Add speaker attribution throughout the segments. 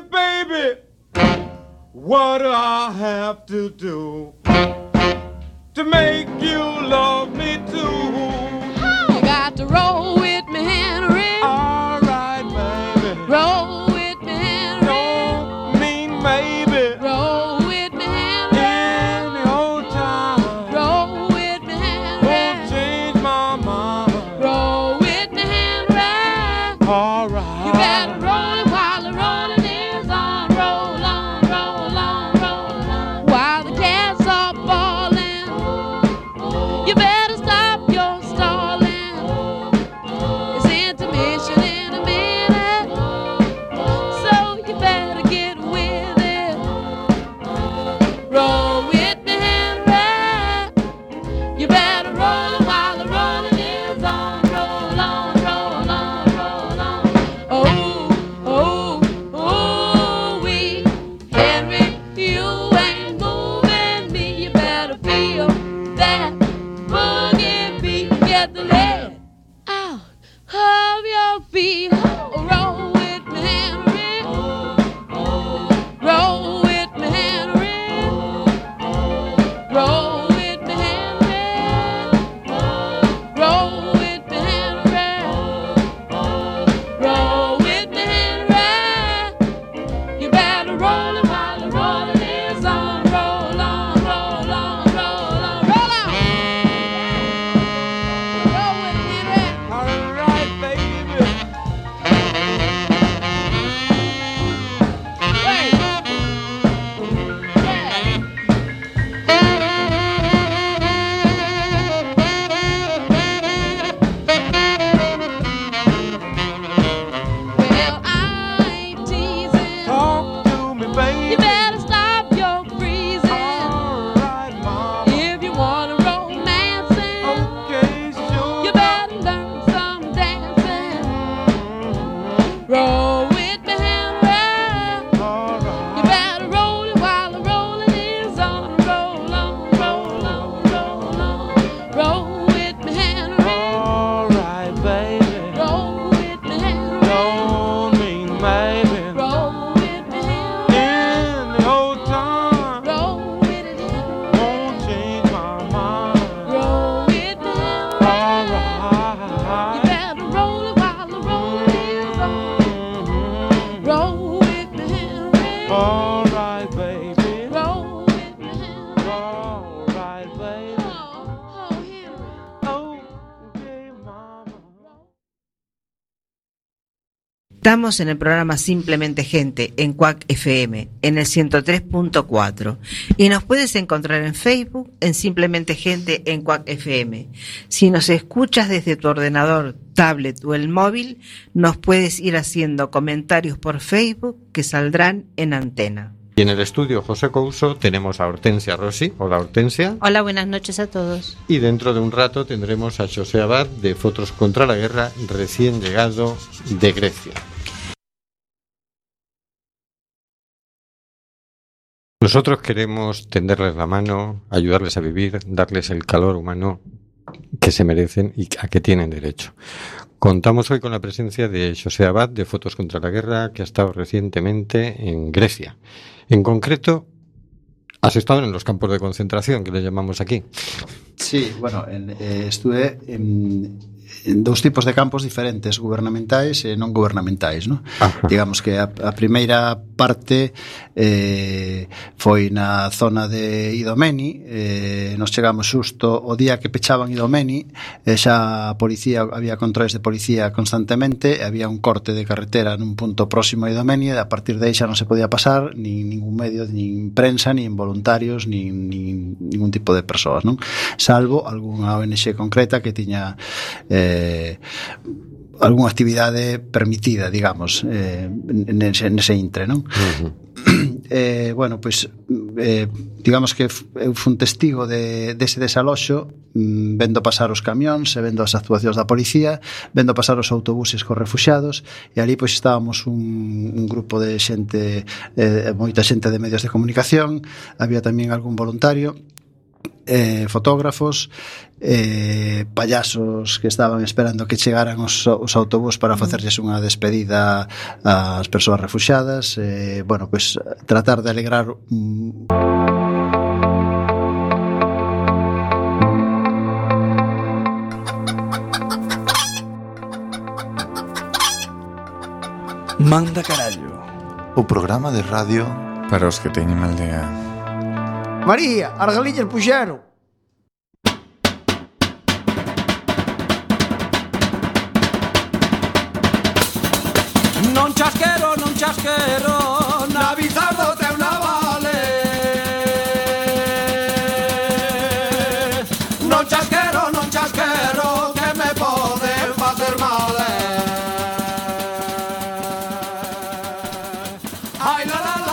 Speaker 1: baby, what do I have to do to make you love me too?
Speaker 2: You got to roll with me, Henry.
Speaker 1: All right, baby.
Speaker 2: Roll with me, Henry.
Speaker 1: Don't mean maybe
Speaker 2: Roll with me, Henry.
Speaker 1: any old time.
Speaker 2: Roll with me,
Speaker 1: Won't
Speaker 2: Henry.
Speaker 1: change my mind.
Speaker 2: Roll with me, Henry.
Speaker 1: All
Speaker 2: You
Speaker 1: right.
Speaker 2: better roll it while the rolling is on. Roll on, roll on, roll on. While the cats are falling, you better stop your stalling. It's intermission in a minute, so you better get with it. Roll with me, Henry. You better roll it while the rolling is on. Roll on, roll on, roll on. Oh, oh, oh, we, Henry, you ain't moving me. You better feel that boogie beat. Get the lead out of your feet. Roll with me, Henry. Roll with me, Henry. Roll with me, Henry. Roll with me, Henry. Roll with me, Henry. You better roll it while the rolling is on. Roll on, roll on, roll on, roll on. Roll with me, Henry.
Speaker 1: All right, baby.
Speaker 2: Hey. Yeah. Well, I ain't teasing.
Speaker 1: Talk to me,
Speaker 2: You
Speaker 1: baby.
Speaker 2: better stop your freezing
Speaker 1: All right, mama.
Speaker 2: if you wanna romancing.
Speaker 1: Okay, sure.
Speaker 2: You better learn some dancing.
Speaker 1: Mm-hmm.
Speaker 2: Roll with me, Henry.
Speaker 1: All
Speaker 2: You
Speaker 1: right.
Speaker 2: better roll it while the rolling is on. Roll on, roll on, roll on. Roll with me, Henry.
Speaker 1: All right, baby.
Speaker 2: Roll with me, Henry.
Speaker 1: Don't mean maybe
Speaker 2: Roll with me, Henry.
Speaker 1: in the old time.
Speaker 2: Roll with it, Henry.
Speaker 1: Won't change my mind.
Speaker 2: Roll with me,
Speaker 1: All
Speaker 2: Henry. You
Speaker 1: right.
Speaker 2: better roll it while the rolling is on.
Speaker 1: Mhm.
Speaker 2: Roll with me, Henry.
Speaker 1: All right, baby.
Speaker 2: Roll with me, Henry.
Speaker 1: All right, baby.
Speaker 2: Oh, oh, Henry.
Speaker 1: Okay, mama.
Speaker 3: Estamos en el programa Simplemente Gente en Cuac FM en el 103.4 y nos puedes encontrar en Facebook en Simplemente Gente en Cuac FM. Si nos escuchas desde tu ordenador, tablet o el móvil, nos puedes ir haciendo comentarios por Facebook que saldrán en antena.
Speaker 4: Y en el estudio José Couso tenemos a Hortensia Rossi. Hola Hortensia.
Speaker 5: Hola, buenas noches a todos.
Speaker 4: Y dentro de un rato tendremos a José Abad de Fotos contra la Guerra, recién llegado de Grecia. Nosotros queremos tenderles la mano, ayudarles a vivir, darles el calor humano que se merecen y a que tienen derecho. Contamos hoy con la presencia de José Abad de Fotos contra la Guerra, que ha estado recientemente en Grecia. En concreto, has estado en los campos de concentración, que le llamamos aquí.
Speaker 6: Sí, bueno, en, eh, estuve en, en dous tipos de campos diferentes, gubernamentais e non gubernamentais, non?
Speaker 4: Ajá.
Speaker 6: Digamos que a, a primeira parte eh, foi na zona de Idomeni, eh, nos chegamos xusto o día que pechaban Idomeni, eh, xa a policía, había controles de policía constantemente, e había un corte de carretera nun punto próximo a Idomeni, e a partir de aí xa non se podía pasar nin ningún medio, nin prensa, nin voluntarios, nin, nin ningún tipo de persoas, non? Salvo algunha ONG concreta que tiña eh, algunha actividade permitida, digamos, eh, nese, nese intre, non? eh, bueno, pois eh, digamos que f- eu fun testigo de, dese desaloxo mm, vendo pasar os camións e vendo as actuacións da policía vendo pasar os autobuses cos refuxados e ali pois estábamos un, un grupo de xente eh, moita xente de medios de comunicación había tamén algún voluntario eh, fotógrafos, eh, payasos que estaban esperando que chegaran os, os autobús para facerlles unha despedida ás persoas refuxadas, eh, bueno, pois tratar de alegrar mm,
Speaker 5: Manda carallo.
Speaker 7: O programa de radio para os que teñen mal día.
Speaker 8: María, as galiñas puxeron.
Speaker 9: Non chasquero, non chasquero Na bizardo te una vale Non chasquero, non chasquero Que me pode facer mal eh. Ai la la la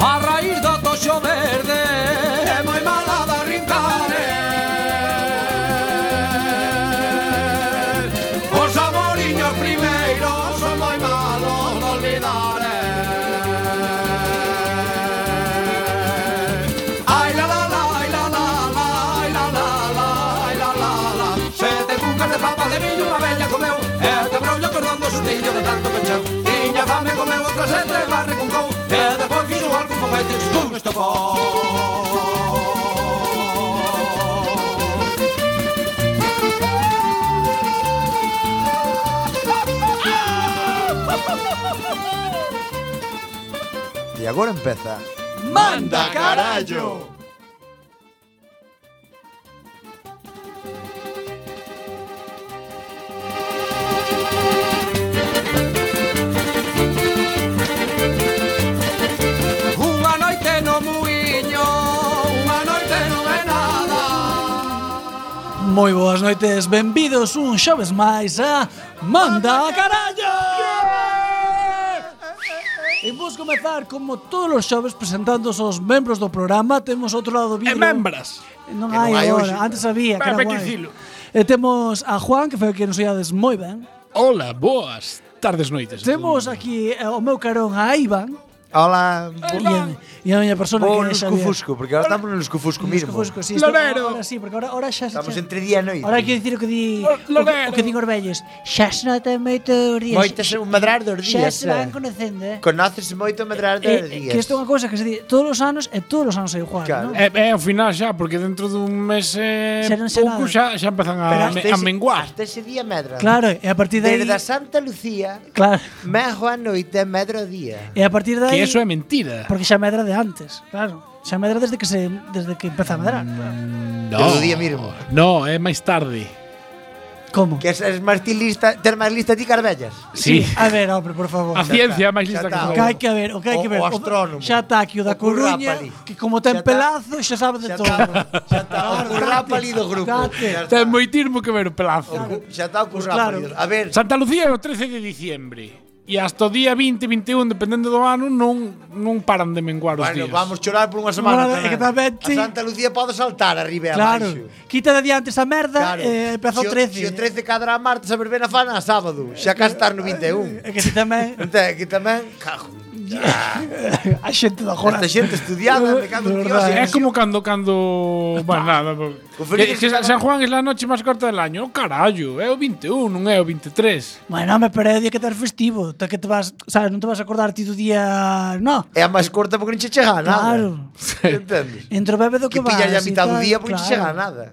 Speaker 9: A raíz do toxo verde É moi mala da rincare Os amoriños primeiros Son moi malos de olvidar eh. Ai la la la, ai la la la Ai la la la, ai la la la Sete cucas de papa de millo Unha bella comeu E te brollo cordón do sustillo De tanto pencheu Tiña fame comeu outra sete Barre con cou E depois fixo algún foguete Estou neste pó
Speaker 5: E agora empeza
Speaker 9: Manda carallo! Unha noite no muiño, unha noite no é nada
Speaker 8: Moi boas noites, benvidos un xoves máis a Manda Carallo! E vos comezar, como todos os xoves, presentando os membros do programa. Temos outro lado do
Speaker 10: E
Speaker 8: vidro.
Speaker 10: membras. Que non
Speaker 8: Non hai
Speaker 10: hai hoxe.
Speaker 8: agora, antes había, que
Speaker 10: Vai,
Speaker 8: era
Speaker 10: vai que
Speaker 8: guai.
Speaker 10: dicilo.
Speaker 8: E temos a Juan, que foi o que nos oiades moi ben.
Speaker 10: Hola, boas tardes, noites.
Speaker 8: Temos aquí eh, o meu carón a Iván.
Speaker 5: Hola,
Speaker 8: E a, e a miña persona
Speaker 11: Vou
Speaker 8: que é
Speaker 11: nos
Speaker 8: Xavier.
Speaker 11: cufusco, porque ahora estamos nos cufusco mismo.
Speaker 8: Cufusco, sí, isto-
Speaker 10: Lorero.
Speaker 8: Ahora sí, porque ahora, ahora xa...
Speaker 11: Estamos
Speaker 8: xa-
Speaker 11: entre día e noite.
Speaker 8: Ahora quero dicir o que di
Speaker 10: Oh,
Speaker 8: o, que-
Speaker 10: Lorero.
Speaker 8: o que din os vellos. Xa se nota moito os días.
Speaker 11: Moito se un medrar dos
Speaker 8: Xa
Speaker 11: días.
Speaker 8: se van
Speaker 11: eh.
Speaker 8: conocendo, eh.
Speaker 11: Conoces moito medrar dos
Speaker 8: Eh, eh,
Speaker 11: días.
Speaker 8: que isto é unha cousa que se di todos os anos e todos os anos hai Juan, non?
Speaker 11: Claro.
Speaker 10: É, é ao final xa, porque dentro dun mes e
Speaker 8: Xa non será.
Speaker 10: pouco xa, xa empezan
Speaker 11: Pero
Speaker 10: a,
Speaker 11: hasta
Speaker 10: me, a
Speaker 11: ese-
Speaker 10: menguar.
Speaker 11: Hasta ese día medra.
Speaker 8: Claro, e a partir de aí...
Speaker 11: Desde a Santa Lucía,
Speaker 8: Claro.
Speaker 11: mejo a noite e medro o día.
Speaker 8: E a partir de aí...
Speaker 10: Que eso é mentira.
Speaker 8: Porque xa medra de antes, claro. Xa medra desde que se desde que empeza a medrar, claro.
Speaker 10: No,
Speaker 11: do día mismo.
Speaker 10: no, é máis tarde.
Speaker 8: Como?
Speaker 11: Que es máis ti lista, ter máis lista ti carvellas.
Speaker 10: Sí.
Speaker 8: A ver, hombre, por favor.
Speaker 10: A ciencia é máis lista
Speaker 11: Xa
Speaker 10: que
Speaker 8: O
Speaker 11: está.
Speaker 10: a
Speaker 8: que hai
Speaker 10: cabeza.
Speaker 8: que ver, o que hai
Speaker 11: O-
Speaker 8: que ver.
Speaker 11: o astrónomo.
Speaker 8: Xa está aquí o da
Speaker 11: O currapa
Speaker 8: Coruña,
Speaker 11: ali.
Speaker 8: que como ten
Speaker 11: Xa está-
Speaker 8: pelazo, xa sabe de
Speaker 11: Xa
Speaker 8: todo.
Speaker 11: está, xa está, o currapa ali do grupo.
Speaker 8: Date.
Speaker 11: Xa está.
Speaker 10: Ten moitismo que ver o pelazo.
Speaker 11: O cu- Xa está o
Speaker 8: Pois claro.
Speaker 11: currapa ali do- A ver,
Speaker 10: Santa Lucía é o 13 de diciembre. E hasta o día 20, 21, dependendo do ano, non non paran de menguar os
Speaker 11: bueno,
Speaker 10: días.
Speaker 11: vamos chorar por unha semana.
Speaker 8: Bueno, é que tamén,
Speaker 11: A
Speaker 8: sí.
Speaker 11: Santa Lucía pode saltar arriba e
Speaker 8: Claro.
Speaker 11: abaixo.
Speaker 8: Quita de diante esa merda eh,
Speaker 11: Claro.
Speaker 8: e empeza
Speaker 11: Se
Speaker 8: o 13.
Speaker 11: Se o 13 cadra a martes, a verbena fana a sábado. Xa cá estar no 21.
Speaker 8: É Eh, que si tamén
Speaker 11: Entón, que tamén, cajo. Ah,
Speaker 8: a xente da
Speaker 11: Esta
Speaker 8: jornada.
Speaker 11: xente estudiada, me cago en Dios.
Speaker 10: É como cando cando, bueno, Pues nada. po-
Speaker 11: feliz
Speaker 10: Que, que San San Juan é a noche máis corta del año. O carallo, é o 21, non é o 23.
Speaker 8: Bueno, me pero é o día que estás festivo, ta que te vas, sabes, non te vas a acordar ti do día, no.
Speaker 11: É a máis corta porque non che chega a nada.
Speaker 8: Claro.
Speaker 11: Entendes?
Speaker 8: Entre o bebe do
Speaker 11: Que
Speaker 8: que vas.
Speaker 11: pillas a
Speaker 8: e
Speaker 11: mitad do
Speaker 8: tal,
Speaker 11: día porque non che
Speaker 8: claro.
Speaker 11: chega a nada.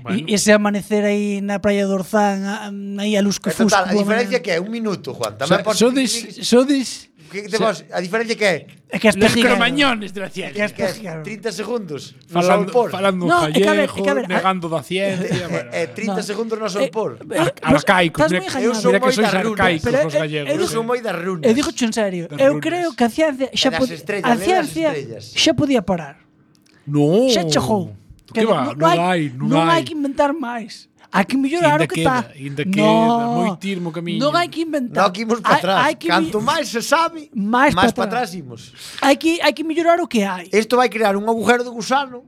Speaker 8: E- ese amanecer aí na Praia do Orzán, a- aí a luz que
Speaker 11: É
Speaker 8: fusco.
Speaker 11: Eh,
Speaker 8: eh.
Speaker 11: total, a diferencia que é un minuto, Juan. Tamén
Speaker 8: Sa- sodes- sodes
Speaker 11: que te vos, a diferencia que é?
Speaker 8: É que as
Speaker 10: Los
Speaker 8: pejigas-
Speaker 10: cromañones de la ciencia.
Speaker 11: Que es 30 segundos.
Speaker 10: Falando- falando un No, é que a ver, é que a ver, jallejo, a- negando da ciencia, bueno.
Speaker 11: Eh, eh,
Speaker 10: No.
Speaker 11: 30 segundos no
Speaker 10: Eh,
Speaker 11: son por.
Speaker 10: eh, Arcaicos,
Speaker 8: Estás
Speaker 10: mira
Speaker 8: moi
Speaker 10: que-
Speaker 8: engañado.
Speaker 10: mira que sois arcaicos
Speaker 8: Pero
Speaker 10: los
Speaker 8: eu-
Speaker 10: gallegos.
Speaker 8: eu-
Speaker 10: eh.
Speaker 8: Eu digo en serio,
Speaker 10: Das
Speaker 8: eu
Speaker 10: runas.
Speaker 8: creo que a ciencia xa
Speaker 11: E das
Speaker 8: pod-
Speaker 11: estrellas,
Speaker 8: a
Speaker 11: lé das
Speaker 8: ciencia
Speaker 11: estrellas.
Speaker 8: xa podía parar.
Speaker 10: No.
Speaker 8: Xa chegou.
Speaker 10: Que va, non hai, non
Speaker 8: non
Speaker 10: hai.
Speaker 8: hai que inventar máis. Hai que mellorar o
Speaker 10: Ainda
Speaker 8: que
Speaker 10: queda,
Speaker 8: está.
Speaker 10: ainda
Speaker 8: No,
Speaker 10: queda, moi tirmo camiño.
Speaker 8: Non hai que inventar.
Speaker 11: Non, que imos
Speaker 8: Hai-
Speaker 11: pa atrás.
Speaker 8: hai que mi-
Speaker 11: Canto máis se sabe,
Speaker 8: máis
Speaker 11: Máis
Speaker 8: pa
Speaker 11: para atrás imos.
Speaker 8: Hai que hai que mellorar o que hai.
Speaker 11: Isto vai crear un agujero de gusano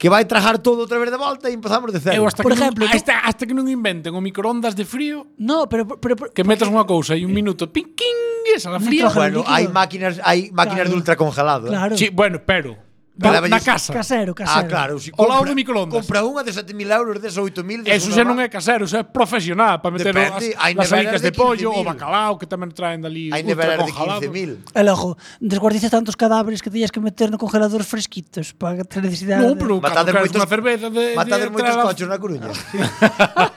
Speaker 11: que vai tragar todo outra vez de volta e empezamos de
Speaker 10: Eu
Speaker 11: cero.
Speaker 10: hasta, que non, Ah, hasta, hasta que non inventen o microondas de frío
Speaker 8: No, pero, pero,
Speaker 10: que metas unha cousa e un minuto ping, king, esa la fría.
Speaker 11: Bueno, hai máquinas, hai máquinas
Speaker 10: Claro.
Speaker 11: de ultracongelado. ¿eh?
Speaker 10: Claro. Sí, bueno, pero
Speaker 11: Pero
Speaker 10: Da-
Speaker 11: debe
Speaker 10: na
Speaker 11: lles-
Speaker 10: casa. Casero, casero.
Speaker 11: Ah, claro, si
Speaker 10: Ao lado
Speaker 11: compra-
Speaker 10: do microondas.
Speaker 11: Compra unha de 7.000 euros, des 8.000, des
Speaker 10: Eso xa non é casero, xa é profesional para meter as,
Speaker 11: Depende, hai
Speaker 10: as
Speaker 11: neveras
Speaker 10: alicas
Speaker 11: de
Speaker 10: de, pollo, o
Speaker 11: 15.000.
Speaker 10: bacalao que tamén traen dali
Speaker 11: Hai neveras de
Speaker 10: ultracongelado.
Speaker 11: 15.000.
Speaker 8: El ojo, desguardices tantos cadáveres que teñas que meter no congelador fresquitos para que te necesidade.
Speaker 10: Non, pero cando queres unha cerveza de...
Speaker 11: matades
Speaker 10: de traer
Speaker 11: moitos
Speaker 10: a-
Speaker 11: coches na Coruña.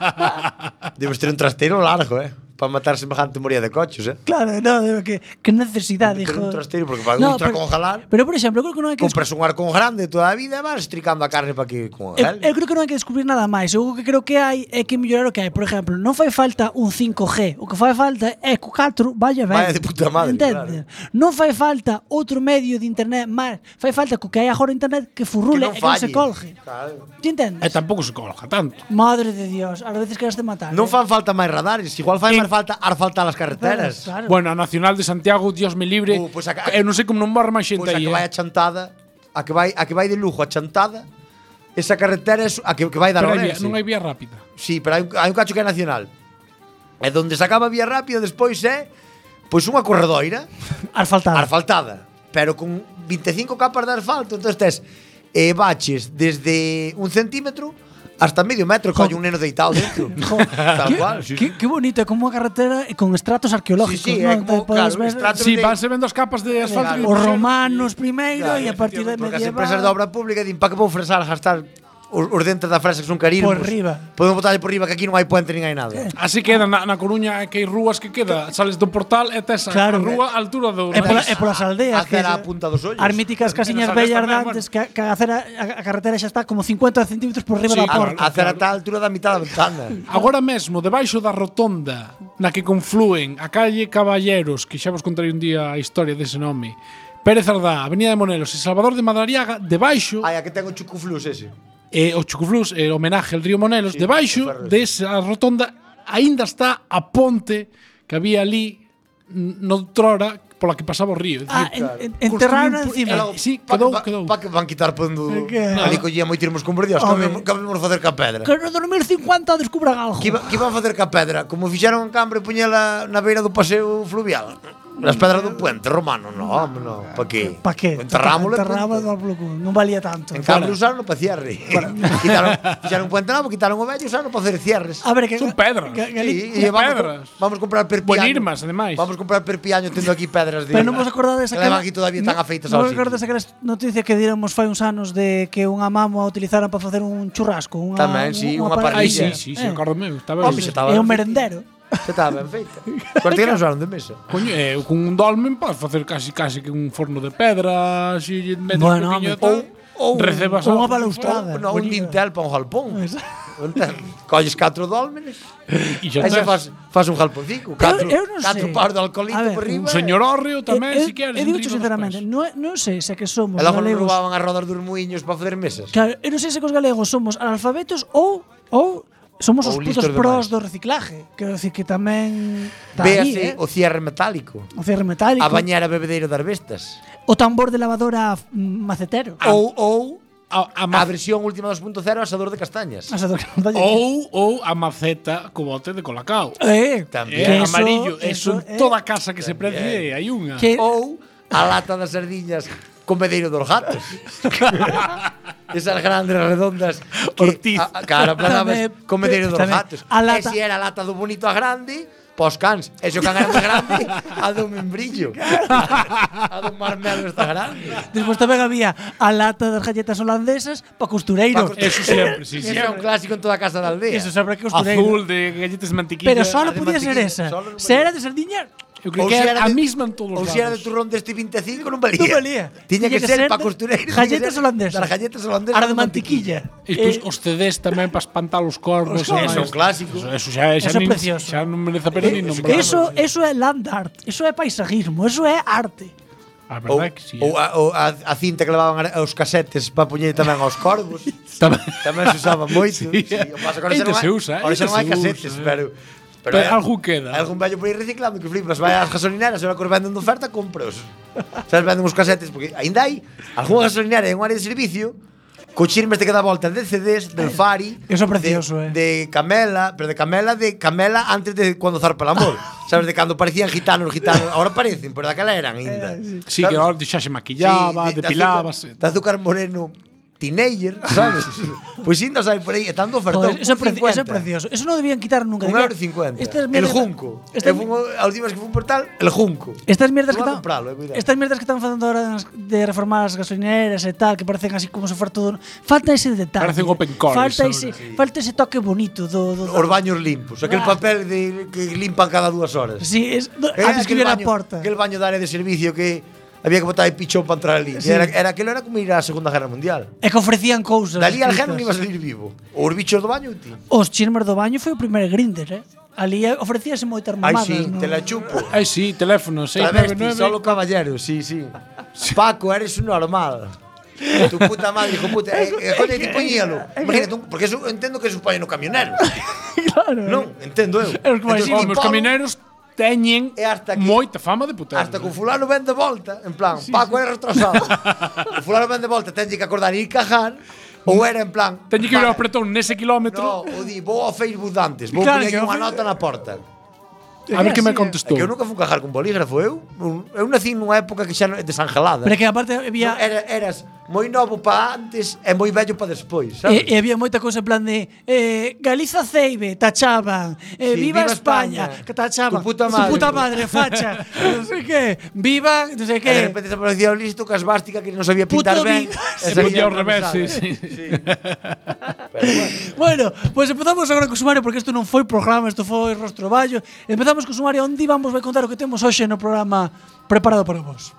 Speaker 11: Debes ter un trasteiro largo, eh? Para matar semejante moría de coches, eh?
Speaker 8: Claro, no, digo que, que necesidade,
Speaker 11: Ter
Speaker 8: hijo.
Speaker 11: un trasteiro, porque para
Speaker 8: No,
Speaker 11: ultracongelar...
Speaker 8: Pero, por exemplo, eu creo que non hai que
Speaker 11: Compras un arcón grande toda a vida e vas estricando a carne para que con
Speaker 10: Eh,
Speaker 8: Eu,
Speaker 11: gel.
Speaker 8: eu creo que non hai que descubrir nada máis. Eu o que creo que hai é que mellorar o que hai. Por exemplo, non fai falta un 5G. O que fai falta é que o 4 vaya ben.
Speaker 11: Vaya de puta madre,
Speaker 8: Entende? Non fai falta outro medio de internet máis. Fai falta que o que hai agora en internet que furrule
Speaker 11: non
Speaker 8: e que non se
Speaker 11: falle.
Speaker 8: colge.
Speaker 11: Claro.
Speaker 8: Ti entendes?
Speaker 10: E tampouco se colga tanto.
Speaker 8: Madre de Dios, ás veces queres de matar.
Speaker 11: Non
Speaker 8: eh?
Speaker 11: fan falta máis radares, igual fai máis falta ar falta as carreteras.
Speaker 8: Claro.
Speaker 10: Eh, Bueno, a Nacional de Santiago, Dios me libre,
Speaker 11: Uh, pois a ca-
Speaker 10: eu non sei como non morre máis xente
Speaker 11: Pois a
Speaker 10: aí.
Speaker 11: que vai a
Speaker 10: eh.
Speaker 11: chantada, a que vai a que vai de lujo a chantada, esa carretera es a que, que vai dar
Speaker 10: Pero hai
Speaker 11: Ourense.
Speaker 10: vía- non hai vía rápida.
Speaker 11: Sí, pero hai un, hai un cacho que é nacional. É donde se acaba a vía rápida, despois é pois unha corredoira
Speaker 8: asfaltada.
Speaker 11: Asfaltada, pero con 25 capas de asfalto, entonces tes eh, baches desde un centímetro hasta medio metro, colle un neno deitado dentro. Tal cual.
Speaker 8: Que, que bonito, é como unha carretera e con estratos arqueológicos,
Speaker 11: Sí, sí, é
Speaker 8: non?
Speaker 11: como,
Speaker 8: Podes
Speaker 11: claro,
Speaker 8: eh, ver
Speaker 11: estratos Sí, de- vanse
Speaker 10: vendo as capas de
Speaker 11: asfalto que
Speaker 8: Os
Speaker 11: puxeron.
Speaker 8: romanos primeiro
Speaker 11: Claro,
Speaker 8: e a partir de
Speaker 11: Porque as
Speaker 8: medieval.
Speaker 11: empresas de obra pública din, pa que vou fresar, gastar os, os dentes da fresa que son carísimos.
Speaker 8: Por riba. Eh.
Speaker 11: Podemos botarle por riba que aquí non hai puente nin hai nada.
Speaker 10: Así queda na, na Coruña é que hai rúas que queda, sales do portal e tes
Speaker 8: Claro.
Speaker 10: a rúa á altura do
Speaker 8: É pola- é polas aldeas
Speaker 11: Hacer a
Speaker 8: se-
Speaker 11: punta dos ollos.
Speaker 8: As míticas
Speaker 11: E
Speaker 8: casiñas
Speaker 11: nas aldeas
Speaker 8: bellas de
Speaker 11: tamén,
Speaker 8: antes que, a- que a, acera, a, a carretera xa está como 50 centímetros por
Speaker 10: Sí,
Speaker 8: riba da porta.
Speaker 11: a, hacer a tal altura da mitad da ventana.
Speaker 10: Agora mesmo, debaixo da rotonda na que confluen a calle Caballeros, que xa vos contarei un día a historia dese nome, Pérez Ardá, Avenida de Monelos e Salvador de Madariaga, debaixo
Speaker 11: Ai, a que ten o chucuflus ese.
Speaker 10: eh, o Chucuflús, eh, homenaje ao río Monelos, debaixo desa rotonda aínda está a ponte que había ali n- noutrora pola que pasaba o río. É
Speaker 8: Ah,
Speaker 10: dicir,
Speaker 8: en- en-
Speaker 10: construíu
Speaker 8: enterraron
Speaker 10: un pu-
Speaker 8: encima.
Speaker 10: Eh,
Speaker 8: Logo,
Speaker 10: sí,
Speaker 11: Pa,
Speaker 10: quedou,
Speaker 11: pa,
Speaker 10: quedou.
Speaker 11: pa que van quitar pendo do...
Speaker 8: Que-
Speaker 11: Ali collía moi tirmos con perdiós.
Speaker 8: Home.
Speaker 11: Que vamos facer ca pedra.
Speaker 8: Que no 2050 descubra algo.
Speaker 11: Que, iba- que van facer ca pedra? Como fixeron en Cambre e puñela na beira do paseo fluvial. Nas pedras do puente romano. No, home, no. Pa que?
Speaker 8: Pa que?
Speaker 11: Enterrámolo.
Speaker 8: Enterrámoslo e bloco. Non valía tanto.
Speaker 11: En cambio usaron para cierre. quitaron, quitaron puente nuevo, quitaron o vello, usaron para hacer cierres.
Speaker 8: A ver, que
Speaker 10: Son pedras.
Speaker 8: que- que-
Speaker 11: Sí,
Speaker 8: que-
Speaker 11: e vamos,
Speaker 10: pedras.
Speaker 11: co- vamos comprar perpiaño.
Speaker 10: Bonirmas, ademais.
Speaker 11: Vamos comprar perpiaño tendo aquí pedras de.
Speaker 8: Pero non vos acordades
Speaker 11: Que levan aquí todavía tan afeitas
Speaker 8: Non
Speaker 11: ao
Speaker 8: vos
Speaker 11: sitio.
Speaker 8: acordades aquelas noticias que diramos fai uns anos de que unha mamo a utilizaron para facer un churrasco, unha
Speaker 11: Tamén, sí, unha
Speaker 10: Ai,
Speaker 11: parrilla.
Speaker 10: sí, sí, sí,
Speaker 8: Ah, Eh.
Speaker 10: acordo meu, está ben.
Speaker 11: Home, xa estaba
Speaker 8: É un
Speaker 11: ben
Speaker 8: merendero.
Speaker 11: feita. Xa estaba ben feita. Cuartel nos usaron de mesa.
Speaker 10: Coño, eh, con un dolmen podes facer casi casi que un forno de pedra, si metes
Speaker 8: Bueno,
Speaker 10: un poquinho de
Speaker 8: home,
Speaker 10: tal,
Speaker 11: ou-
Speaker 10: recebas
Speaker 8: ou
Speaker 10: algo.
Speaker 8: unha balaustrada.
Speaker 11: Ou, non, un dintel para un jalpón. Colles catro dólmenes
Speaker 10: E
Speaker 11: e
Speaker 10: xa
Speaker 11: xa
Speaker 10: tes.
Speaker 11: fas, fas un jalponcico. Catro,
Speaker 8: eu non sei.
Speaker 11: catro paros de
Speaker 8: A
Speaker 11: alcoholito
Speaker 8: ver,
Speaker 11: por riba.
Speaker 10: Un señor hórreo tamén,
Speaker 8: Eu-
Speaker 10: si queres.
Speaker 8: Eu
Speaker 10: un
Speaker 8: digo
Speaker 10: trigo dos
Speaker 8: eh, sinceramente, non, é- non sei se é que somos
Speaker 11: E logo nos
Speaker 8: galegos.
Speaker 11: robaban as rodas dos muiños para fazer mesas.
Speaker 8: Claro, eu non sei se que os galegos somos analfabetos ou ou somos os
Speaker 11: Ou
Speaker 8: putos
Speaker 11: listos demais.
Speaker 8: pros do reciclaje. Quero dicir que tamén está aí,
Speaker 11: Véase
Speaker 8: eh?
Speaker 11: o cierre metálico.
Speaker 8: O cierre metálico,
Speaker 11: A bañar a bebedeiro das bestas.
Speaker 8: o tambor de lavadora mm, macetero.
Speaker 10: Ah.
Speaker 11: Ou, ou
Speaker 10: a,
Speaker 11: a, versión última 2.0 asador de castañas.
Speaker 8: O sea, do- do-
Speaker 10: Ou, ou a maceta co bote de colacao.
Speaker 8: Eh,
Speaker 11: También.
Speaker 10: Eh,
Speaker 8: que eso-
Speaker 10: amarillo,
Speaker 8: eso,
Speaker 10: eso, en
Speaker 8: eh.
Speaker 10: toda casa que se precie hai unha.
Speaker 8: Que-
Speaker 11: Ou a lata das sardiñas con medeiro dos gatos. Esas grandes redondas que,
Speaker 10: Ortiz.
Speaker 11: A, a, cara, pagabas
Speaker 8: Tamén,
Speaker 11: con medeiro dos
Speaker 8: tamén.
Speaker 11: gatos.
Speaker 8: A
Speaker 11: A
Speaker 8: lata-
Speaker 11: lata, e si era a lata do bonito a grande, pos cans. E se o can era máis grande, a do membrillo. a do marmelo está grande.
Speaker 8: Despois tamén había a lata das galletas holandesas para costureiros.
Speaker 10: Eso siempre, sí, sí.
Speaker 11: Era un clásico en toda a casa da aldea.
Speaker 8: Eso sempre que costureiro.
Speaker 10: Azul de galletas de mantequilla.
Speaker 8: Pero solo podía ser esa. Se era de sardiña,
Speaker 10: Eu creo que era a misma en todos
Speaker 11: Ou
Speaker 10: os
Speaker 11: se era de
Speaker 10: lados.
Speaker 11: turrón deste 25, non valía.
Speaker 8: non valía.
Speaker 11: Tiña que, ser, para
Speaker 8: de
Speaker 11: costureiros.
Speaker 8: Galletas holandesas.
Speaker 11: As galletas holandesas.
Speaker 8: Ara de mantequilla.
Speaker 10: E tus,
Speaker 8: Eh,
Speaker 10: os CDs tamén para espantar os corvos.
Speaker 11: Os corvos.
Speaker 10: e
Speaker 11: Eso é un clásico.
Speaker 10: Eso, eso xa, xa
Speaker 8: Eso é
Speaker 10: nin-
Speaker 8: precioso.
Speaker 10: Xa non merece a pena nin
Speaker 8: Eh,
Speaker 10: nombrar.
Speaker 8: eso, eso é land art, eso é paisajismo, eso é arte.
Speaker 10: A
Speaker 11: Ou,
Speaker 10: Ah, verdade é que eh. sí.
Speaker 11: ou, a, ou a, a cinta que levaban ara- aos casetes para poñer tamén aos corvos.
Speaker 10: Tamén,
Speaker 11: tamén se usaba moito.
Speaker 10: Sí.
Speaker 11: o pasa que agora xa
Speaker 10: Ainda
Speaker 11: non hai-
Speaker 10: se usa,
Speaker 11: Agora xa
Speaker 10: ainda
Speaker 11: non hai
Speaker 10: se usa,
Speaker 11: casetes,
Speaker 10: eh.
Speaker 11: pero...
Speaker 10: Pero algún queda.
Speaker 11: Algún vello por ir reciclando que flipas. Vai ás gasolineras, agora que os venden de oferta, compros. Sabes, venden uns casetes, porque ainda hai algunha gasolinera en un área de servicio Cochirmes te que dá volta de CDs,
Speaker 10: Eh,
Speaker 11: del Fari
Speaker 8: Eso é precioso, eh.
Speaker 11: de, de Camela Pero de Camela, de Camela antes de cuando zarpa el amor Sabes, de cando parecían gitanos, gitanos Ahora parecen, pero daquela eran ainda
Speaker 10: Sí, que ahora xa se maquillaba,
Speaker 11: Sí, de- de
Speaker 10: depilábase.
Speaker 11: azúcar- De azúcar moreno teenager, sabes? pois ainda sai por aí, e tanto ofertón.
Speaker 8: Joder, eso, é
Speaker 11: un
Speaker 8: preci- eso é
Speaker 11: 50,
Speaker 8: precioso. Eso non debían quitar nunca.
Speaker 11: Un
Speaker 8: debían-
Speaker 11: euro cincuenta.
Speaker 8: Estas
Speaker 11: El
Speaker 8: mierdas-
Speaker 11: junco.
Speaker 8: Estas,
Speaker 11: Eu fun ao- a última vez que fui a un portal, el junco.
Speaker 8: estas mierdas que
Speaker 11: Vou
Speaker 8: están
Speaker 11: a compralo, eh, cuidado.
Speaker 8: Estas mierdas que están facendo ahora nas- de reformar as gasolineras e tal, que parecen así como se for todo. Falta ese detalle.
Speaker 10: Parecen open cores
Speaker 8: Falta
Speaker 10: ahora,
Speaker 8: ese,
Speaker 10: sí.
Speaker 8: falta ese toque bonito do, do, do-
Speaker 11: Os baños limpos, aquel
Speaker 8: Ah.
Speaker 11: papel de que limpan cada dúas horas.
Speaker 8: Sí, es, do,
Speaker 11: Eh,
Speaker 8: antes que
Speaker 11: aquel
Speaker 8: viera a
Speaker 11: baño-
Speaker 8: porta.
Speaker 11: Aquel baño da área de servicio que había que botar el pichón para entrar ali.
Speaker 8: Sí.
Speaker 11: Era, era aquilo era como ir á Segunda Guerra Mundial.
Speaker 8: E que ofrecían cousas.
Speaker 11: Dali al
Speaker 8: escritas.
Speaker 11: género non ibas a salir vivo. Ou Os bichos do baño, ti.
Speaker 8: Os chismes do baño foi o primeiro grinder, eh? Ali eh, ofrecíase moitas
Speaker 11: Ai,
Speaker 8: mamadas.
Speaker 11: sí,
Speaker 8: non?
Speaker 11: te la chupo.
Speaker 10: Ai, sí, teléfono
Speaker 11: Travesti,
Speaker 10: 699.
Speaker 11: solo caballero, sí, sí. Paco, eres un normal. tu puta madre, hijo puta. Eh, eh, joder, ti poñíalo. Imagínate, un- porque eso, entendo que eso pai no camionero.
Speaker 8: claro.
Speaker 11: non, entendo eu.
Speaker 8: É os que máis
Speaker 11: Entón,
Speaker 10: Home, os
Speaker 11: Pablo,
Speaker 10: camineros teñen
Speaker 11: E hasta aquí.
Speaker 10: moita fama de putero.
Speaker 11: Hasta que o fulano ven de volta, en plan, Paco era retrasado. o fulano ven de volta, tenlle que acordar ir cajar, ou era en plan...
Speaker 10: Teñen que ir ao
Speaker 11: vale,
Speaker 10: apretón nese kilómetro.
Speaker 11: No, o di, vou ao Facebook antes, vou
Speaker 8: Claro,
Speaker 11: claro,
Speaker 8: que
Speaker 11: poñer
Speaker 8: ao
Speaker 11: unha
Speaker 8: Facebook-
Speaker 11: nota na porta.
Speaker 10: a ver
Speaker 8: É
Speaker 10: que me
Speaker 8: así, eh.
Speaker 11: É
Speaker 10: contestou.
Speaker 11: que eu nunca fui cajar con bolígrafo, eu. Eu nací nunha época que xa non- desangelada.
Speaker 8: Pero é que aparte
Speaker 11: Ya.
Speaker 8: había...
Speaker 11: Era, eras moi novo para antes e moi vello para despois, sabes?
Speaker 8: E, e había moita cousa en plan de eh, Galiza Ceibe, tachaban eh,
Speaker 11: Sí,
Speaker 8: viva,
Speaker 11: viva
Speaker 8: España,
Speaker 11: España,
Speaker 8: que tachaban
Speaker 11: tu puta madre.
Speaker 8: puta madre facha non sei que viva non sei
Speaker 11: E de
Speaker 8: que
Speaker 11: repente se aparecía o listo que as bástica que non sabía
Speaker 8: Puto
Speaker 11: pintar ben.
Speaker 8: Vigo.
Speaker 11: e
Speaker 10: Se
Speaker 11: saía
Speaker 10: ponía ao revés,
Speaker 11: atravesada.
Speaker 10: sí, sí.
Speaker 8: bueno, pois pues empezamos agora co sumario porque isto non foi programa, isto foi rostro ballo empezamos co sumario onde vamos vai contar o que temos hoxe no programa preparado para vos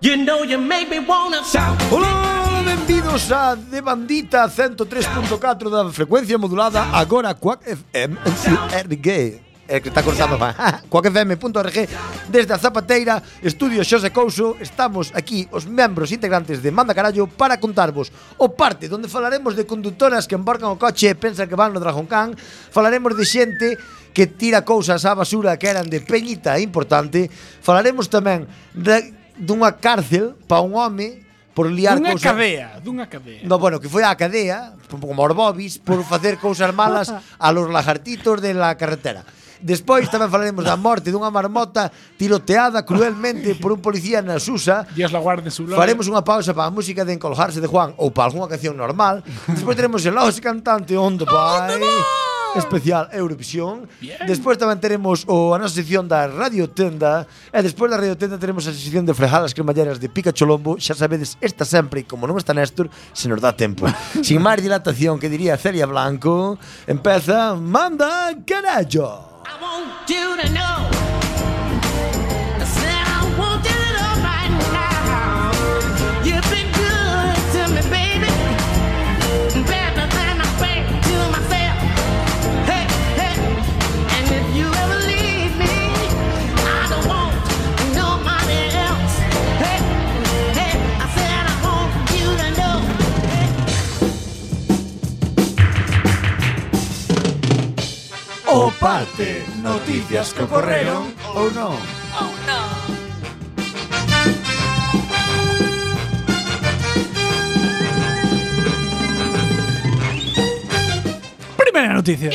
Speaker 12: You know you make me wanna shout.
Speaker 11: Ola, benvidos a De Bandita 103.4 da frecuencia modulada agora Quack FM RG é eh, que está cortando pa quackfm.org desde a Zapateira Estudio Xose Couso estamos aquí os membros integrantes de Manda Carallo para contarvos o parte donde falaremos de conductoras que embarcan o coche e pensan que van no Dragon Khan falaremos de xente que tira cousas á basura que eran de peñita importante. Falaremos tamén de, dunha cárcel para un home por liar
Speaker 10: Dunha
Speaker 11: cousas.
Speaker 10: cadea, dunha cadea.
Speaker 11: No, bueno, que foi á cadea, por- como aos bobis, por facer cousas malas a los lagartitos de la carretera. Despois tamén falaremos da morte dunha marmota tiroteada cruelmente por un policía na Susa
Speaker 10: Dios la guarde en su gloria.
Speaker 11: Faremos unha pausa para a música de Encolgarse de Juan ou para algunha canción normal. Despois teremos el Oxe Cantante Ondo Vai especial Eurovisión. Despois tamén teremos o, a nosa sección da Radio Tenda e despois da Radio Tenda teremos a sección de Frejadas Cremalleras de Pica Cholombo. Xa sabedes, esta sempre e como non está Néstor, se nos dá tempo. Sin máis dilatación que diría Celia Blanco, empeza Manda Carallo.
Speaker 12: I want you to know. I said I want you to know right now. You've been good to me, baby. Better than I think to myself. Hey, hey. And if you ever leave me, I don't want nobody else. Hey, hey. I said I want you to know.
Speaker 11: O parte, noticias que ocorreron ou non.
Speaker 12: Oh no.
Speaker 8: primeira noticia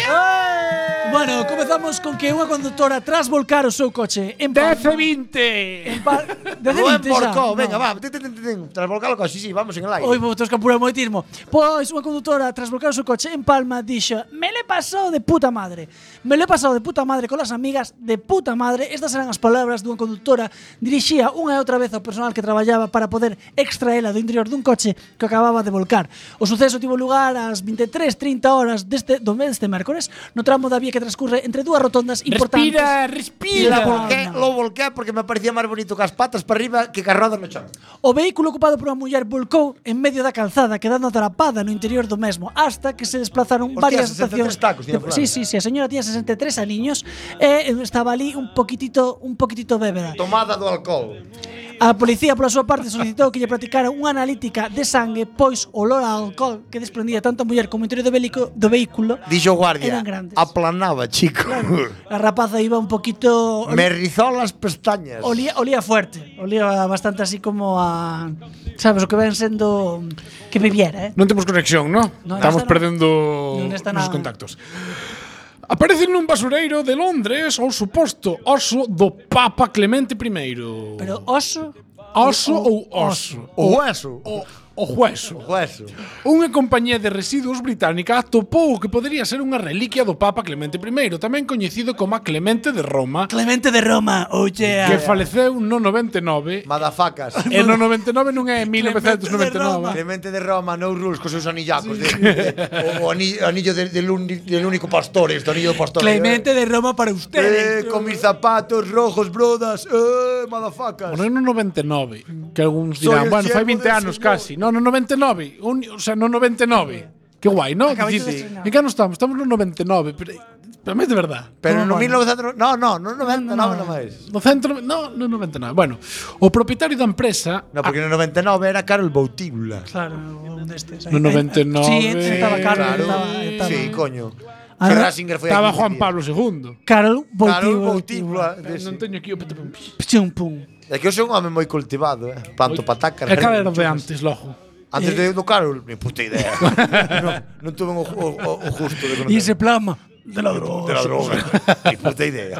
Speaker 8: Bueno, comezamos con que unha conductora tras volcar o seu coche en 10 20. Desde
Speaker 11: Lo
Speaker 8: 20 xa.
Speaker 11: emporcó,
Speaker 8: no.
Speaker 11: venga, va. tin, tin, tin, tin, Tras volcarlo con sí, sí, vamos en el aire.
Speaker 8: Oi, vou tos campura moitismo. Pois unha conductora tras volcar o seu coche en Palma dixo: "Me le pasou de puta madre. Me le pasou de puta madre colas amigas de puta madre." Estas eran as palabras dunha conductora dirixía unha e outra vez ao personal que traballaba para poder extraela do interior dun coche que acababa de volcar. O suceso tivo lugar ás 23:30 horas deste do mes de mércores no tramo da vía que transcurre entre dúas rotondas importantes.
Speaker 11: Lo volqué, lo volqué porque me parecía más bonito que las patas para arriba que que as rodas no chão.
Speaker 8: O vehículo ocupado por unha muller volcou en medio da calzada, quedando atrapada no interior do mesmo, hasta que se desplazaron
Speaker 11: Hostia,
Speaker 8: varias
Speaker 11: 63
Speaker 8: estacións.
Speaker 11: tacos tiña
Speaker 8: de- sí, sí, sí, a señora tiña 63 aniños e estaba ali un poquitito, un poquitito bébeda.
Speaker 11: Tomada do alcohol.
Speaker 8: A policía, pola súa parte, solicitou que lle practicara unha analítica de sangue pois o olor a alcohol que desprendía tanto a muller como o interior do, bélico, do vehículo.
Speaker 11: Dixo o guardia.
Speaker 8: Eran grandes.
Speaker 11: Aplanaba, chico.
Speaker 8: A rapaza iba un poquito...
Speaker 11: me rizó las pestañas.
Speaker 8: Olía, olía fuerte, olía bastante así como a... Sabes, o que ven sendo que bebiera, eh?
Speaker 10: Non temos conexión, non?
Speaker 8: No,
Speaker 10: Estamos
Speaker 8: nesta non.
Speaker 10: perdendo
Speaker 8: Non, nesta
Speaker 10: os
Speaker 8: nada.
Speaker 10: contactos. Aparece nun basureiro de Londres o suposto oso do Papa Clemente I.
Speaker 8: Pero oso?
Speaker 10: Oso ou oso?
Speaker 11: O hueso.
Speaker 10: O, o hueso. O
Speaker 11: hueso.
Speaker 10: Unha compañía de residuos británica atopou o que podería ser unha reliquia do Papa Clemente I, tamén coñecido como a Clemente de Roma.
Speaker 8: Clemente de Roma, oh yeah.
Speaker 10: Que faleceu no 99.
Speaker 11: Madafacas.
Speaker 10: E no 99 non é 1999.
Speaker 11: Clemente de Roma, no rules cos seus anillacos. De, de, o ani- anillo de- del, uni- del único pastor, este anillo do pastor.
Speaker 8: Clemente de Roma para ustedes.
Speaker 11: Eh, con mis zapatos rojos, brodas. Eh, madafacas.
Speaker 10: Bueno, no 99, que algúns
Speaker 11: Soy
Speaker 10: dirán,
Speaker 11: el
Speaker 10: bueno, fai
Speaker 11: siervo
Speaker 10: 20
Speaker 11: del
Speaker 10: anos
Speaker 11: Señor".
Speaker 10: casi. No, no 99, un, o sea, no 99. Que guai, ¿no?
Speaker 11: Acabáis de
Speaker 10: Dicir,
Speaker 11: estrenar.
Speaker 10: en que ano estamos? Estamos no 99, pero pero é de verdad.
Speaker 11: Pero
Speaker 10: no
Speaker 11: no 1900... No, no, no 99 no, máis.
Speaker 10: No centro, no, no 99. Bueno, o propietario da empresa
Speaker 11: No, porque no 99 era caro el Boutibla.
Speaker 8: Claro, un destes.
Speaker 10: No eh, 99.
Speaker 8: Sí, estaba Carlos, estaba- estaba-
Speaker 11: Sí, coño.
Speaker 8: Ah,
Speaker 11: Que Ratzinger foi
Speaker 10: estaba
Speaker 11: aquí,
Speaker 10: Juan
Speaker 11: tío.
Speaker 10: Pablo II.
Speaker 8: Carol
Speaker 11: Carol
Speaker 8: Boutibla.
Speaker 11: Boutibla.
Speaker 10: Eh, Non teño aquí o pum,
Speaker 8: Pchum, pum.
Speaker 11: É que eu sou un home moi cultivado, eh. Panto pataca.
Speaker 10: É cada era
Speaker 11: rei,
Speaker 10: de
Speaker 11: chupas.
Speaker 10: antes, logo.
Speaker 11: Antes
Speaker 10: Eh.
Speaker 11: de do Carol, ni puta idea. non, non tuve o, o, o- o justo de conocer.
Speaker 8: Y ese plasma de la droga.
Speaker 11: De la droga. ni puta idea.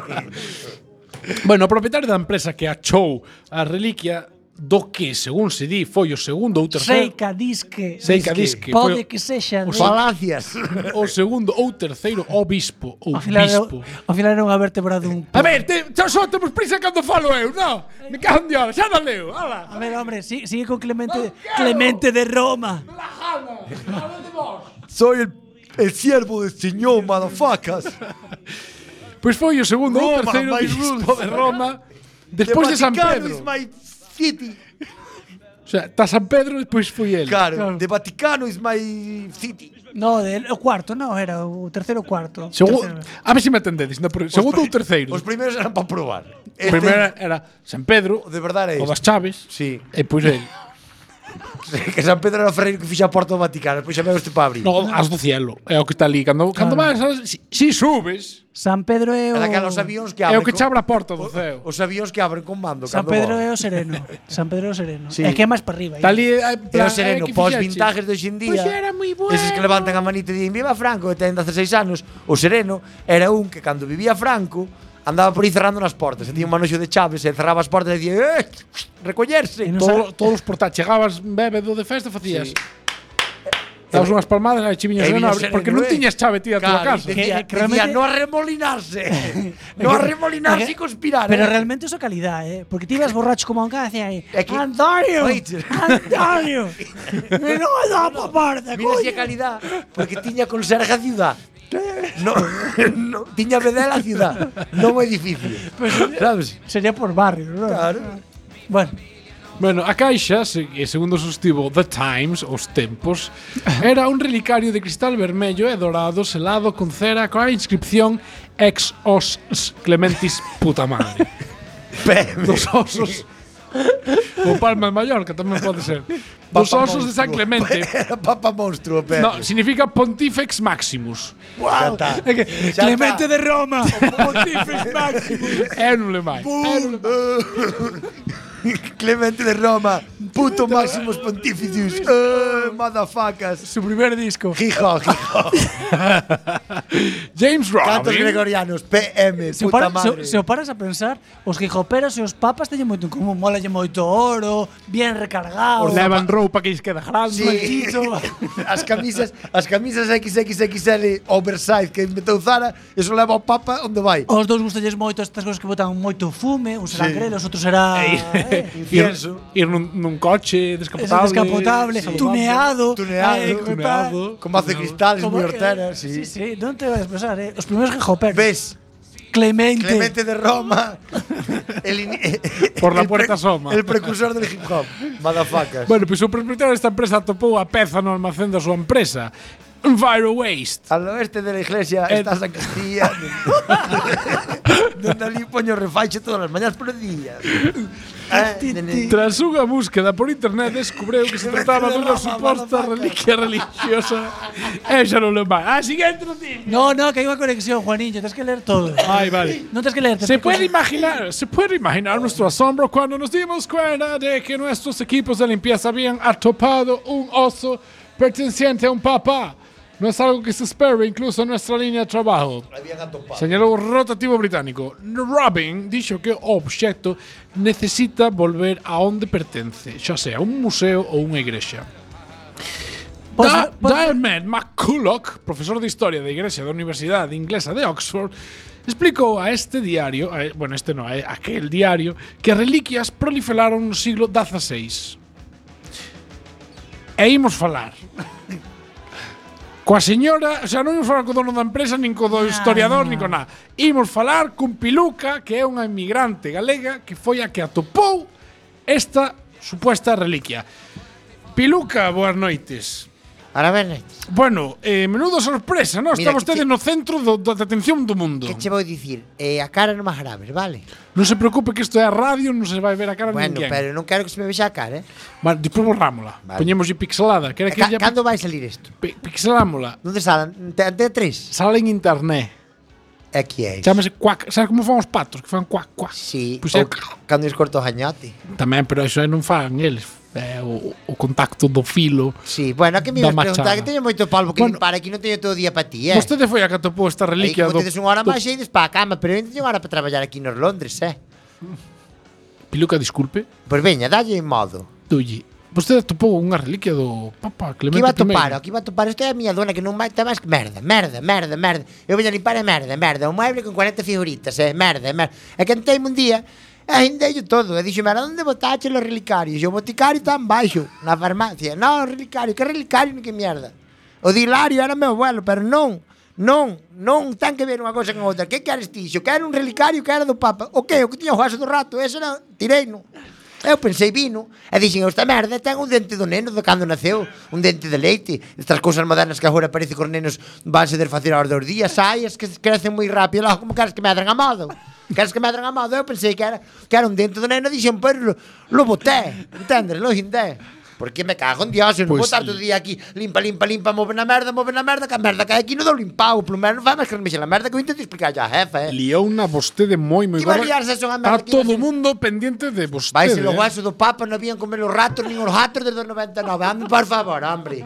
Speaker 10: Bueno, o propietario da empresa que achou a reliquia do que, según se di, foi o segundo ou terceiro
Speaker 8: Seica disque.
Speaker 10: Seica disque, foi
Speaker 8: Pode
Speaker 10: o-
Speaker 8: que sexa.
Speaker 10: o
Speaker 8: de-
Speaker 11: Falacias.
Speaker 10: o segundo ou terceiro obispo ou
Speaker 8: Ao final, era-
Speaker 10: bispo.
Speaker 8: ao final era unha vértebra dun...
Speaker 10: A ver, te, xa só temos prisa cando falo eu, non? Me cago en Dios, xa non leo, ala.
Speaker 8: A ver, hombre, si- sigue con Clemente, Clemente de Roma.
Speaker 11: Soy el, el siervo del señor, madafacas.
Speaker 10: Pois foi o segundo ou
Speaker 11: Roma,
Speaker 10: terceiro
Speaker 11: my
Speaker 10: bispo
Speaker 11: rules.
Speaker 10: de Roma despois de San
Speaker 11: Vaticano
Speaker 10: Pedro.
Speaker 11: is my city.
Speaker 10: O sea, ta San Pedro despois foi ele.
Speaker 11: Claro, de Vaticano is my city.
Speaker 8: No, del, o cuarto, no, era o terceiro cuarto.
Speaker 10: Segu
Speaker 8: Terceiro.
Speaker 10: a ver se me atendedes. Na pro- segundo ou terceiro?
Speaker 11: Os primeiros eran para probar.
Speaker 10: O primeiro era- era San Pedro,
Speaker 11: de verdade é
Speaker 10: o
Speaker 11: isto.
Speaker 10: das Chaves,
Speaker 11: sí.
Speaker 10: e pois ele.
Speaker 11: que San Pedro era o ferreiro que fixa a porta do Vaticano, pois chamei este para abrir.
Speaker 10: No, as do cielo, é o que está ali. Cando, cando
Speaker 8: Claro.
Speaker 10: vas, si, si subes,
Speaker 8: San Pedro é o...
Speaker 11: Era que os avións que
Speaker 10: é
Speaker 11: abren.
Speaker 10: o que
Speaker 11: con-
Speaker 10: che abre a porta do ceo.
Speaker 11: Os avións que abren con mando.
Speaker 8: San
Speaker 11: cando
Speaker 8: Pedro
Speaker 11: volan.
Speaker 8: é o sereno. San Pedro é o sereno.
Speaker 11: Sí.
Speaker 8: É que é máis para arriba. eh.
Speaker 10: Está ali, é,
Speaker 11: É o sereno, pos vintajes de hoxe en día.
Speaker 10: eh, Pois era moi bueno.
Speaker 11: Eses que levantan a manita e dicen Viva Franco, que ten 16 anos O sereno era un que cando vivía Franco Andaba por aí cerrando nas portas E tiña un manoxo de chaves e cerraba as portas E dicía, eh, recollerse
Speaker 10: Todo, todos os portais chegabas bébado de festa, facías.
Speaker 11: Sí.
Speaker 8: Ah,
Speaker 10: Dabas unhas palmadas e chiviños
Speaker 11: E
Speaker 10: e
Speaker 11: viña
Speaker 10: nobre,
Speaker 11: sereno,
Speaker 10: porque non
Speaker 11: eh.
Speaker 10: tiñas chave ti a tua
Speaker 11: Claro,
Speaker 10: casa.
Speaker 11: e
Speaker 8: Que-
Speaker 11: Dicía,
Speaker 8: que
Speaker 11: dicía
Speaker 8: realmente-
Speaker 11: no arremolinarse No arremolinarse e conspirar
Speaker 8: Pero
Speaker 11: eh.
Speaker 8: realmente eso é calidad, eh? Porque ti ibas borracho como a un cara e aí
Speaker 11: É que-
Speaker 8: Antonio,
Speaker 11: Oite.
Speaker 8: Antonio, me non me dá pa parte,
Speaker 11: Mira si
Speaker 8: coño.
Speaker 11: a calidad Porque tiña conserja a ciudad no, no, tiña vedela a ciudad Non o edificio Sabes?
Speaker 8: Sería por barrio, non?
Speaker 11: Claro.
Speaker 8: Bueno,
Speaker 10: Bueno, a caixa, se- e segundo sostivo The Times, os tempos, era un relicario de cristal vermello e dorado selado con cera coa inscripción Ex os Clementis puta madre. Dos osos O Palma de Mallorca tamén pode ser Dos
Speaker 11: Papa
Speaker 10: osos de San
Speaker 11: Monstruo.
Speaker 10: Clemente
Speaker 11: Era papa monstruo Pedro.
Speaker 10: No, significa Pontifex Maximus
Speaker 11: Guau.
Speaker 10: É que
Speaker 11: Ya
Speaker 8: Clemente
Speaker 11: está.
Speaker 8: de Roma, Pontifex Maximus.
Speaker 10: É non le máis
Speaker 11: Bum. Clemente de Roma.
Speaker 13: Puto máximos pontíficios. Eh, motherfuckers.
Speaker 10: Su primer disco.
Speaker 13: Hijo, hijo.
Speaker 10: James
Speaker 13: Robin. Cantos gregorianos. PM,
Speaker 8: Se, o para-
Speaker 13: puta madre.
Speaker 8: se, se o paras a pensar, os gijoperas e os papas teñen moito en común. Mola moito oro, bien recargado.
Speaker 10: Os levan roupa que lles queda grande.
Speaker 13: Sí. as camisas, as camisas XXXL oversize que inventou Zara, eso leva ao papa onde vai.
Speaker 8: Os dous gustalles moito estas cousas que botan moito fume, uns serán
Speaker 10: Sí.
Speaker 8: grelos, outros será
Speaker 10: ir, ir nun, nun coche descapotable.
Speaker 8: Ese descapotable, tuneado,
Speaker 13: Tuneado,
Speaker 8: eh,
Speaker 10: tuneado,
Speaker 13: Con mazo de cristales
Speaker 8: Como
Speaker 13: moi
Speaker 8: que-
Speaker 13: hortera, sí.
Speaker 8: Sí, sí, non te vas a pensar, eh. Os primeiros gijoperos.
Speaker 13: Ves.
Speaker 8: Clemente.
Speaker 13: Clemente de Roma. El ini-
Speaker 10: Por la
Speaker 13: el
Speaker 10: puerta
Speaker 13: pre-
Speaker 10: asoma.
Speaker 13: El precursor del hip hop. Motherfuckers.
Speaker 10: Bueno, pois o propietario desta empresa atopou a peza no almacén da súa empresa. Enviro Waste.
Speaker 13: Al oeste de la iglesia está San Castilla. donde ali poño refaixo todas as mañas por Ah, día.
Speaker 10: Tras unha búsqueda por internet descubreu que se trataba dunha suposta reliquia religiosa e xa non lembro máis. Ah, siguiente noticia.
Speaker 8: No, no, que hai unha conexión, Juaniño, tens que ler todo.
Speaker 10: Ay, vale.
Speaker 8: Non tens que ler.
Speaker 10: Se puede imaginar, se puede imaginar nuestro asombro cuando nos dimos cuenta de que nuestros equipos de limpieza habían atopado un oso perteneciente a un papá. No es algo que se espera incluso en nuestra línea de trabajo. Señaló un rotativo británico. Robin dijo que o objeto necesita volver a onde pertence, ya sea un museo ou unha igrexa. Da- Diarmaid McCulloch, profesor de Historia da Igrexa da Universidade Inglesa de Oxford, explicou a este diario, a- bueno, este no, a aquel diario, que as reliquias proliferaron no siglo XVI. E imos falar. Coa señora, o sea, non imos falar co dono da empresa, nin co do historiador, nin co nada. Imos falar con Piluca, que é unha inmigrante galega que foi a que atopou esta supuesta reliquia. Piluca, boas noites.
Speaker 11: Ahora ben,
Speaker 10: Bueno, eh, menudo sorpresa, ¿no?
Speaker 11: Mira,
Speaker 10: Está
Speaker 11: que
Speaker 10: vostede no centro do, do- da atención do mundo.
Speaker 11: que che vou dicir? Eh, a cara non máis graves, vale?
Speaker 10: Non se preocupe que isto é a radio, non se vai ver a cara
Speaker 11: Bueno,
Speaker 10: ninguén.
Speaker 11: pero non quero que se me vexa a cara, eh?
Speaker 10: Vale, despois borrámola.
Speaker 11: Vale.
Speaker 10: Poñémoslle pixelada. Que era que
Speaker 11: Ca- cando vai salir isto?
Speaker 10: Pixelámola.
Speaker 11: Donde salen? Te, te tres?
Speaker 10: Sale en internet.
Speaker 11: É que é
Speaker 10: Chámase cuac. Sabes como fan os patos? Que fan cuac, cuac.
Speaker 11: Sí,
Speaker 10: Pois
Speaker 11: ou
Speaker 10: é-
Speaker 11: cando lles corto o gañote.
Speaker 10: Tamén, pero iso aí non fan eles. É o, o contacto do filo.
Speaker 11: Sí, bueno, que me
Speaker 10: da
Speaker 11: ibas preguntar que
Speaker 10: machada.
Speaker 11: teño moito palmo que limpar aquí, non teño todo o día para ti, eh?
Speaker 10: Vostede foi a que atopou esta reliquia
Speaker 11: Aí,
Speaker 10: do...
Speaker 11: como tedes unha hora
Speaker 10: do-
Speaker 11: máis, e ides para a cama, pero eu ainda teño unha hora para traballar aquí nos Londres, eh?
Speaker 10: Piluca, disculpe.
Speaker 11: Pois veña, dalle modo.
Speaker 10: Dulle. Vostede atopou unha reliquia do Papa
Speaker 11: Aquí
Speaker 10: Clemente
Speaker 11: iba a topar,
Speaker 10: I.
Speaker 11: aquí iba a topar. Esta é a miña dona que non vai te máis que merda, merda, merda, merda. Eu veño a limpar e merda, merda. Un mueble con 40 figuritas, eh, merda, merda. E cantei un día, e aindeio todo. E dixo, mera, onde botache los relicarios? E o boticario está en baixo, na farmacia. Non, relicario, que relicario, ni que mierda. O de Hilario era meu abuelo, pero non. Non, non ten que ver unha cosa con outra. Que queres ti? Se eu quero un relicario que era do Papa. O que? O que tiña o vaso do rato? Ese era, tirei no. Eu pensei vino e dixen, esta merda ten un dente do neno de cando naceu, un dente de leite, estas cousas modernas que agora parece que os nenos vanse desfacer aos dous días, saias que crecen moi rápido, logo como queres que medran a modo? Queres que medran a modo? Eu pensei que era, que era un dente do neno, dixen, pero lo, lo boté, entendes, lo hindé. Porque me cago en Dios, eu non
Speaker 6: Pois
Speaker 11: vou estar todo o día aquí Limpa, limpa, limpa, move na merda, move na merda Que a merda cae aquí, non dou limpao Pelo menos vai máis que remexe na merda Que eu intento explicar a jefa, eh
Speaker 10: Liou unha vostede moi moi
Speaker 11: Iba a
Speaker 10: gorda.
Speaker 11: liarse esa unha merda,
Speaker 10: Está
Speaker 11: que iba a
Speaker 10: todo o mundo pendiente de vostede.
Speaker 11: Vai se
Speaker 10: eh.
Speaker 11: los vasos do Papa non habían comer os ratos nin os ratos desde os 99. Ame, por favor, hombre.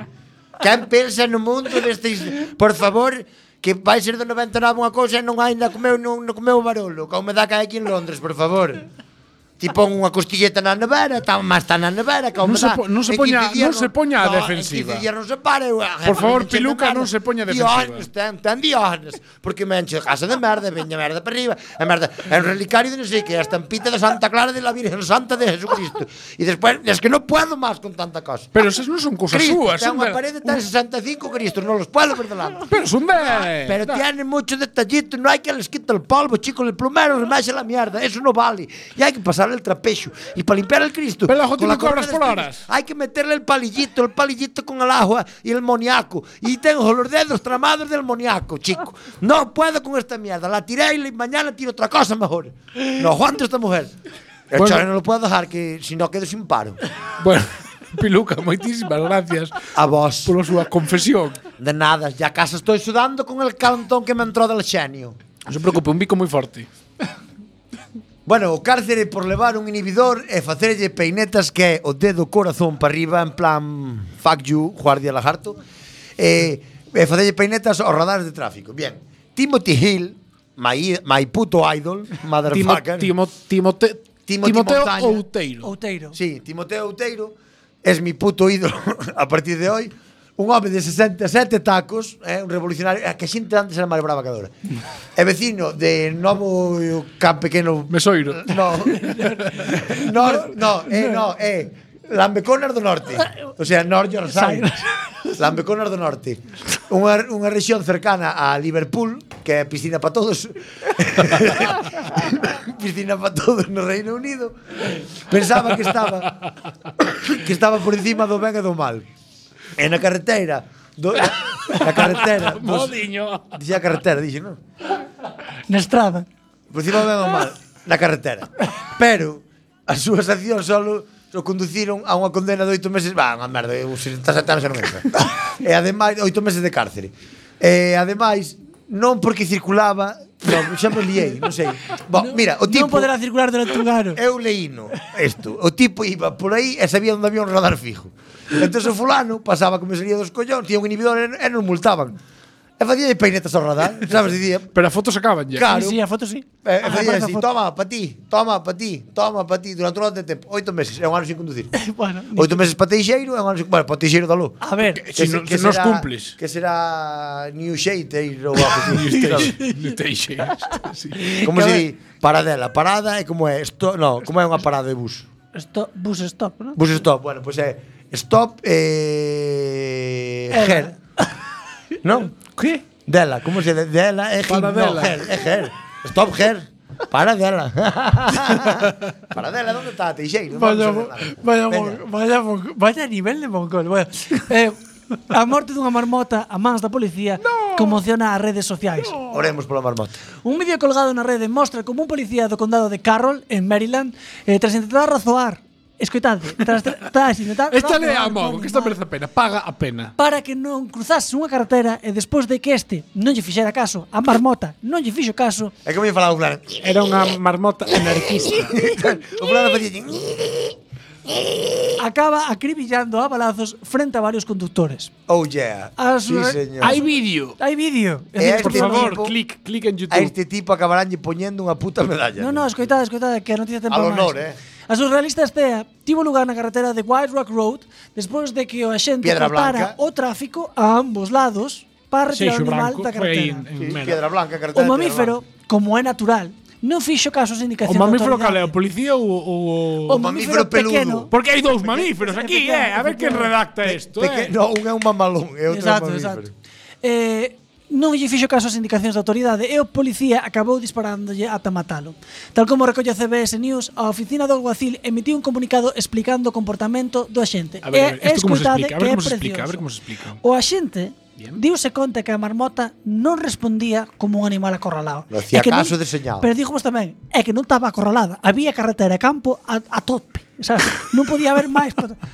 Speaker 11: Quen pensa no mundo destes... Por favor, que vai ser do 99 unha cousa e non ainda comeu, non, non comeu barolo. Como me dá cae aquí en Londres, por favor. Ti pon unha costilleta na nevera, está máis está na nevera,
Speaker 10: Non
Speaker 11: como
Speaker 10: se
Speaker 11: dá.
Speaker 10: po- non se
Speaker 11: En
Speaker 10: poña-
Speaker 11: 15 días
Speaker 10: non se poña a
Speaker 11: no, en
Speaker 10: defensiva.
Speaker 11: 15 días non se pare.
Speaker 10: Por favor, Piluca, non se poña a defensiva.
Speaker 11: Dios, ten, ten diógenes, porque me enche casa de merda, veña merda para arriba, a merda, é un relicario de non sei que, a estampita de Santa Clara de la Virgen Santa de Jesucristo. E despois, es que non puedo máis con tanta cosa.
Speaker 10: Pero esas non son cousas
Speaker 11: Cristo,
Speaker 10: súas,
Speaker 11: ten
Speaker 10: son
Speaker 11: unha
Speaker 10: de-
Speaker 11: parede, ten 65 Cristos, non los puedo ver delante.
Speaker 10: Pero son de...
Speaker 11: Pero tiene mucho detallito, no hay que les quita el polvo, chicos, el plumero remache la mierda, eso no vale. Y hay que pasarle el trapecho. Y para limpiar el Cristo,
Speaker 10: Pero, Joaquín,
Speaker 11: con la
Speaker 10: ¿me cobras
Speaker 11: corona de
Speaker 10: por
Speaker 11: espinas,
Speaker 10: horas?
Speaker 11: hay que meterle el palillito, el palillito con el agua y el moniaco. Y tengo los dedos tramados del moniaco, chico. No puedo con esta mierda, la tiré y le- mañana tiro otra cosa mejor. No aguanto esta mujer. El
Speaker 10: Bueno.
Speaker 11: chale no lo puedo dejar, que si no quedo sin paro.
Speaker 10: Bueno, Piluca, moitísimas gracias
Speaker 11: a vos
Speaker 10: pola súa confesión.
Speaker 11: De nada, ya casi estoy sudando con el calentón que me entró del xenio.
Speaker 10: Non se preocupe, un bico moi forte.
Speaker 11: Bueno, o cárcere por levar un inhibidor e facerlle peinetas que é o dedo corazón para arriba en plan fuck you, guardia lagarto. E, e facerlle peinetas aos radares de tráfico. Bien. Timothy Hill, my, my puto idol, motherfucker.
Speaker 10: Timo- Timo- Timote- Timoteo Outeiro.
Speaker 11: Outeiro. Sí, Timoteo Outeiro es mi puto ídolo a partir de hoy. Un home de 67 tacos, eh, un revolucionario, eh, que xente antes era máis brava que agora. É vecino de Novo Can Pequeno...
Speaker 10: Mesoiro.
Speaker 11: No, no, no, eh, no, eh, Lambeconas do Norte. O sea, North Yorkshire. Lambeconas do Norte. Unha, unha rexión cercana a Liverpool, que é piscina para todos, piscina para todos no Reino Unido. Pensaba que estaba que estaba por encima do ben e do mal. E na carretera do, na carretera dos,
Speaker 10: Modiño.
Speaker 11: dixía carretera, dixe, non?
Speaker 8: Na estrada.
Speaker 11: Por encima do ben e do mal, na carretera. Pero as súas accións solo o conduciron a unha condena de oito meses Bah, unha merda, eu 67 anos xa non entra E ademais, oito meses de cárcere E ademais, non porque circulaba no, Xa me liei, non sei Bo, mira, o tipo
Speaker 8: non poderá circular durante un ano.
Speaker 11: Eu leíno isto. O tipo iba por aí e sabía onde había un radar fijo. Entón o fulano pasaba como salía dos collóns, tiña un inhibidor e, e non multaban. E facía de peinetas ao radar, sabes, dicía...
Speaker 10: Pero a foto sacaban ya.
Speaker 11: Claro.
Speaker 8: Sí,
Speaker 11: Eh,
Speaker 8: sí, a foto sí.
Speaker 11: E, e
Speaker 8: Ah,
Speaker 11: facía
Speaker 8: aparece a
Speaker 11: así,
Speaker 8: foto.
Speaker 11: toma, pa ti, toma, pa ti, toma, pa ti, durante un ano de tempo, oito meses, é un ano sin conducir.
Speaker 8: bueno,
Speaker 11: oito meses pa teixeiro, é un ano sin... Bueno, pa teixeiro da luz.
Speaker 8: A ver,
Speaker 11: Que se- que será- Que será New Sheiteiro ou algo así.
Speaker 8: Que
Speaker 11: Como
Speaker 8: a
Speaker 11: se
Speaker 8: ver-
Speaker 11: di, paradela, parada é como é, esto, no, como é unha parada de bus.
Speaker 8: Stop, bus stop, ¿no?
Speaker 11: Bus stop, bueno, pois pues é stop eh
Speaker 8: Ela.
Speaker 11: gel. non? Que? Dela, como se de, dela é gel,
Speaker 8: Para
Speaker 11: no,
Speaker 8: dela.
Speaker 11: gel, é gel. Stop gel. Para dela. Para dela, onde está Teixeiro?
Speaker 8: Vaya,
Speaker 11: Vamos a ver.
Speaker 8: vaya, mon- vaya, mon- vaya nivel de mongol. Bueno, eh, a morte dunha marmota a mans da policía conmociona as redes sociais.
Speaker 11: Oremos pola marmota.
Speaker 8: Un vídeo colgado na rede mostra como un policía do condado de Carroll, en Maryland, eh, tras intentar razoar, escoitade, tras, tras intentar
Speaker 10: Esta le
Speaker 8: razoar
Speaker 10: amo,
Speaker 8: co
Speaker 10: que esta
Speaker 8: animal
Speaker 10: merece a pena. Paga a pena.
Speaker 8: para que non cruzase unha carretera e despois de que este non lle fixera caso, a marmota non lle fixo caso,
Speaker 11: É que me falaba o plan.
Speaker 10: Era unha marmota anarquista.
Speaker 11: o plan facía
Speaker 8: acaba acribillando a balazos frente a varios conductores.
Speaker 11: Oh yeah.
Speaker 8: As-
Speaker 11: sí, señor.
Speaker 8: Hai
Speaker 10: vídeo.
Speaker 8: Hai vídeo.
Speaker 11: E a este
Speaker 10: Por favor,
Speaker 11: tipo-
Speaker 10: clic, clic en
Speaker 11: A
Speaker 10: YouTube.
Speaker 11: este tipo acabaránlle poñendo unha puta medalla.
Speaker 8: No, no, escoitade, escoitade, que a noticia ten
Speaker 11: Al
Speaker 8: pa máis.
Speaker 11: honor, eh.
Speaker 8: A surrealista estea tivo lugar na carretera de White Rock Road despois de que o axente
Speaker 11: Piedra
Speaker 8: cortara
Speaker 11: Blanca.
Speaker 8: o tráfico a ambos lados para retirar o
Speaker 10: Seixo
Speaker 8: animal
Speaker 10: Branco
Speaker 8: da
Speaker 10: foi aí
Speaker 8: carretera.
Speaker 10: en
Speaker 11: Sí,
Speaker 10: Mera.
Speaker 11: Piedra Blanca, carretera.
Speaker 8: O
Speaker 11: de Piedra
Speaker 8: mamífero, como é natural, non fixo caso
Speaker 10: O
Speaker 8: ás indicacións da
Speaker 10: mamífero
Speaker 8: autoridade.
Speaker 10: cal é o policía ou ou-
Speaker 8: O mamífero pequeno.
Speaker 10: Porque hai dous mamíferos aquí,
Speaker 8: Pequeno,
Speaker 10: eh? A ver quen
Speaker 8: pequeno.
Speaker 10: redacta isto, eh?
Speaker 11: Pequeno, un é un mamalón e outro
Speaker 8: Exacto,
Speaker 11: é un mamífero.
Speaker 8: exacto. Eh, non lle fixo caso ás indicacións da autoridade e o policía acabou disparándolle ata matalo. Tal como recolle a CBS News, a oficina do alguacil emitiu un comunicado explicando o comportamento do axente.
Speaker 10: A ver, a ver,
Speaker 8: E
Speaker 10: isto como se explica,
Speaker 8: escoitade
Speaker 10: a
Speaker 8: que
Speaker 10: ver
Speaker 8: é
Speaker 10: como se explica, a
Speaker 8: precioso.
Speaker 10: ver como se explica.
Speaker 8: O axente diuse conta que a marmota non respondía como un animal acorralado.
Speaker 11: Non hacía
Speaker 8: E que
Speaker 11: caso de señal.
Speaker 8: Pero dixo tamén, é que non estaba acorralada. Había carretera e campo a, a tope. sabes? non podía haber máis. pat-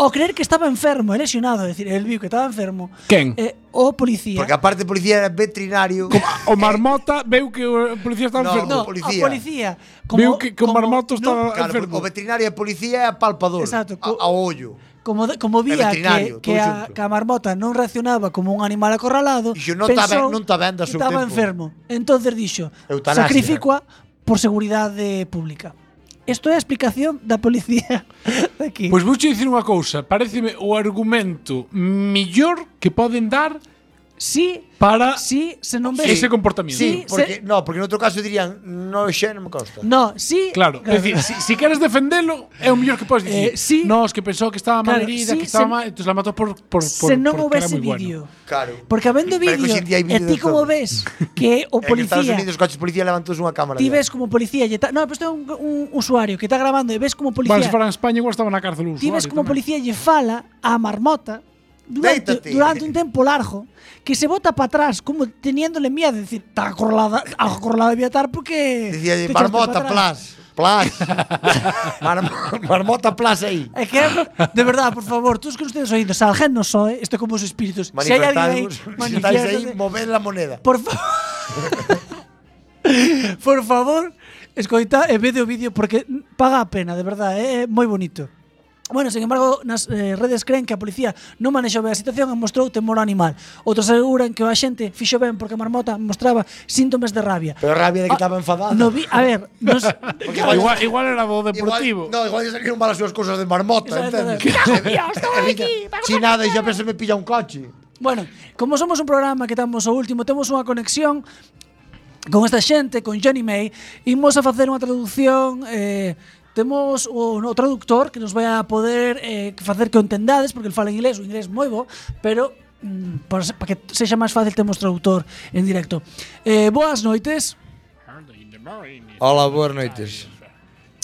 Speaker 8: O creer que estaba enfermo e lesionado, é dicir, el viu que estaba enfermo.
Speaker 10: Quen?
Speaker 8: Eh, o policía.
Speaker 11: Porque aparte o policía era veterinario. Eh,
Speaker 10: O marmota veu que o policía está
Speaker 11: No,
Speaker 10: enfermo.
Speaker 8: no,
Speaker 11: o policía.
Speaker 8: a policía.
Speaker 10: Veu que que o marmoto estaba
Speaker 11: Claro,
Speaker 10: enfermo.
Speaker 11: o veterinario e policía é apalpador.
Speaker 8: Exacto,
Speaker 11: a,
Speaker 8: co-
Speaker 11: a ollo.
Speaker 8: Como, como vía que,
Speaker 11: veterinario,
Speaker 8: que,
Speaker 11: todo
Speaker 8: a,
Speaker 11: xunto.
Speaker 8: que a marmota non reaccionaba como un animal acorralado,
Speaker 11: Dixo, non tá ben-
Speaker 8: pensou
Speaker 11: non tá ben do
Speaker 8: que
Speaker 11: seu
Speaker 8: estaba
Speaker 11: tempo.
Speaker 8: enfermo. Entonces dixo,
Speaker 11: Eutanasia.
Speaker 8: sacrificoa por seguridade pública. Isto é a explicación da policía de aquí.
Speaker 10: Pois vouche dicir unha cousa, pareceme o argumento mellor que poden dar
Speaker 8: sí,
Speaker 10: para
Speaker 8: sí, se non ves...
Speaker 10: ese comportamiento.
Speaker 8: Sí,
Speaker 11: Sí, porque,
Speaker 8: se-
Speaker 11: no, porque en outro caso dirían, no, xe non me consta.
Speaker 8: No, sí...
Speaker 10: Claro, é dicir, si, si queres defendelo, é o mellor que podes dicir.
Speaker 8: Eh, sí.
Speaker 10: no, es que pensou que estaba mal
Speaker 8: Claro,
Speaker 10: herida,
Speaker 8: sí,
Speaker 10: que estaba
Speaker 8: se-
Speaker 10: mal, entonces la mató por por por
Speaker 8: se non
Speaker 10: porque era moi
Speaker 8: houvese
Speaker 10: bueno.
Speaker 8: vídeo.
Speaker 11: Claro.
Speaker 8: Porque habendo
Speaker 11: Pero que
Speaker 8: vídeo,
Speaker 11: hoxe en día hai
Speaker 8: e
Speaker 11: vídeo
Speaker 8: ti
Speaker 11: de
Speaker 8: como
Speaker 11: todo.
Speaker 8: ves que o
Speaker 11: É que en Estados
Speaker 8: policía...
Speaker 11: Unidos, coches policía levantou unha cámara.
Speaker 8: Ti
Speaker 11: ya.
Speaker 8: ves como policía lle ta- No, pero isto é un, un usuario que está grabando e ves como policía...
Speaker 10: Bueno, se fora en España igual estaba na cárcel o
Speaker 8: Ti ves
Speaker 10: usuario tamén.
Speaker 8: como policía lle fala a marmota durante,
Speaker 11: Déitate.
Speaker 8: durante un tempo largo que se bota para atrás como teniéndole miedo de decir, está acorralada, acorralada de estar porque
Speaker 11: Dicía,
Speaker 8: te echaste
Speaker 11: marmota,
Speaker 8: pa atrás".
Speaker 11: plas, plas. Mar- marmota, plas aí.
Speaker 8: É que, de verdad, por favor, todos que nos tedes oído, se alguén nos soe, isto é como os espíritus. Se hai alguén aí,
Speaker 11: Manifestarvos, se estáis aí,
Speaker 8: manifiéstate.
Speaker 11: moved la moneda.
Speaker 8: Por favor. Por favor, Escoita e vede o vídeo porque paga a pena, de verdade, é, é moi bonito. Bueno, sin embargo, nas eh, redes creen que a policía non manexou ben a situación e mostrou temor ao animal. Outros aseguran que o axente fixo ben porque a marmota mostraba síntomas de rabia. Ah,
Speaker 11: Pero rabia de que estaba enfadado.
Speaker 8: No vi, a ver, nos,
Speaker 10: igual, igual era do deportivo.
Speaker 11: no, igual lle salieron mal as súas cousas de marmota,
Speaker 8: Eso é
Speaker 11: ¿eh? entendes?
Speaker 8: verdade. Dios mío,
Speaker 11: Si nada, e xa penso me pilla un coche.
Speaker 8: Bueno, como somos un programa que estamos o último, temos unha conexión con esta xente, con Johnny May, imos a facer unha traducción eh, Temos un, o traductor que nos vai a poder eh, facer que o entendades Porque el fala inglés, o inglés moi bo Pero mm, para, se- para que sexa máis fácil temos traductor en directo eh, Boas noites
Speaker 13: Hola, boas noites.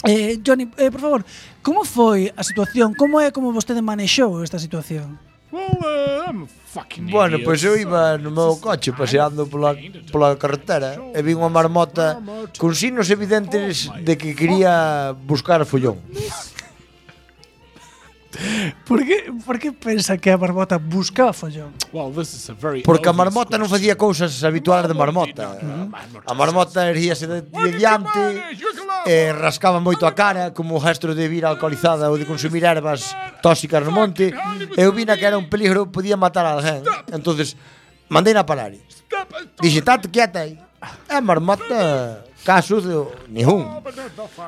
Speaker 8: eh, Johnny, eh, por favor, como foi a situación? Como é como vostede manexou esta situación?
Speaker 10: Well, uh, I'm a fucking
Speaker 11: Bueno,
Speaker 10: idiot.
Speaker 11: pois eu iba no meu coche paseando pola, pola carretera e vi unha marmota con sinos evidentes de que quería buscar follón.
Speaker 8: Por que, por que pensa que a barbota busca follón?
Speaker 10: Well, this is a very
Speaker 11: Porque a
Speaker 10: obvious
Speaker 11: marmota non facía cousas habituais de marmota. Uhum. A marmota erguíase de, de diante e rascaba moito a cara como o rastro de vir alcoholizada ou de consumir ervas tóxicas no monte. Eu vina que era un peligro, podía matar a alguén. Entonces, mandei na parar. Dixe, tate quieta aí. A marmota caso de ningún.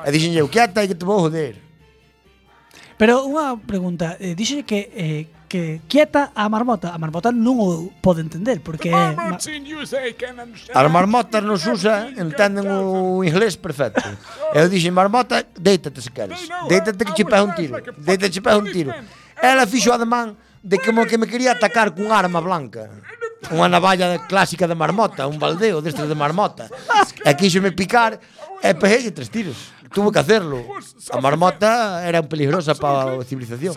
Speaker 11: E dixen eu, quieta aí que te vou joder.
Speaker 8: Pero unha pregunta, eh, dixe que eh, que quieta a marmota, a marmota non o pode entender porque é ma-
Speaker 11: As marmotas nos usa, entenden o inglés perfecto. Eu dixen, marmota, deítate se queres. Deítate que che pega un tiro. Deítate que che pega un tiro. Ela fixo ademán de como que me quería atacar cun arma blanca. Unha navalla de- clásica de marmota, un baldeo destes de marmota. E quixome picar e peguei tres tiros. Tuve que hacerlo. A marmota era peligrosa para a civilización.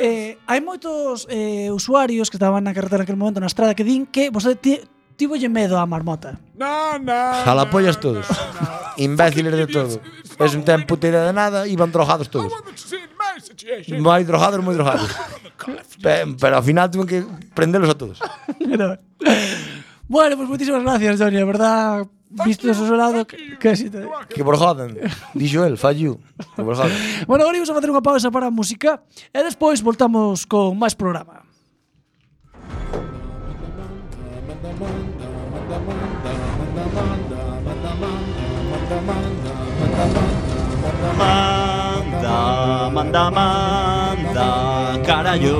Speaker 8: eh, hai moitos eh, usuarios que estaban na carretera naquele momento na estrada que din que vostede ti, tivolle medo á marmota.
Speaker 10: No, no.
Speaker 11: Jalapollas todos. Imbéciles de todo. Es un ten puta idea de nada, iban drogados todos. Moi drogados, moi drogados. Pe- Pero ao final tuve que prendelos a todos.
Speaker 8: Pero- bueno, pois pues, moitísimas gracias, Johnny, a verdad, visto o seu lado que, que xente-
Speaker 11: Que por jodan. Dixo el, fuck you. Que por jodan.
Speaker 8: Bueno, agora imos a facer unha pausa para a música e despois voltamos con máis programa.
Speaker 14: Manda, manda, manda, carallo.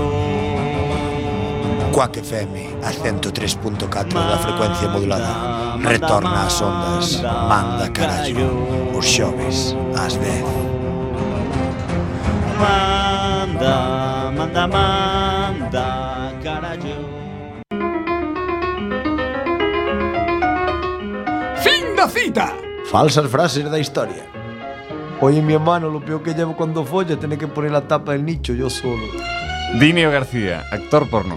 Speaker 5: Cuac FM, a 103.4 da frecuencia modulada. Retorna ás ondas, manda carallo. Os xoves, ás 10.
Speaker 14: Manda, manda, manda, carallo.
Speaker 11: Fin da cita. Falsas frases da historia. Oye, mi hermano, lo peor que llevo cuando folla es tener que poner la tapa del nicho yo solo.
Speaker 7: Dinio García, actor porno.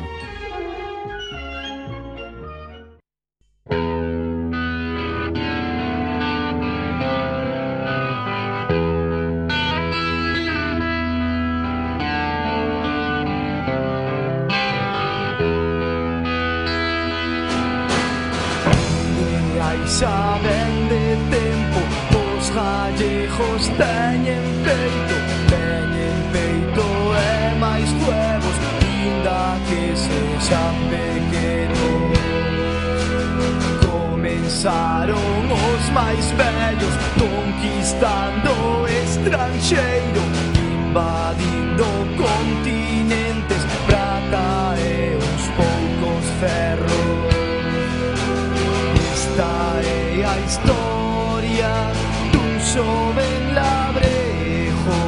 Speaker 15: Mira y saben de tempo Os gallejos teñen peito Teñen peito e máis huevos Inda que sexan pequenos Comenzaron os máis vellos Conquistando o estranxeiro Invadindo continentes Prata e uns poucos ferros Esta é a historia dun xoven labrejo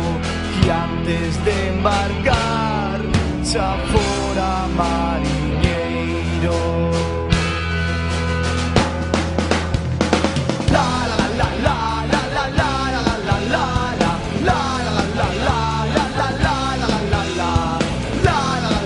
Speaker 15: que antes de embarcar xa fora mariñeiro. La la la la la la la la la la la la la la la la la la la la la la la.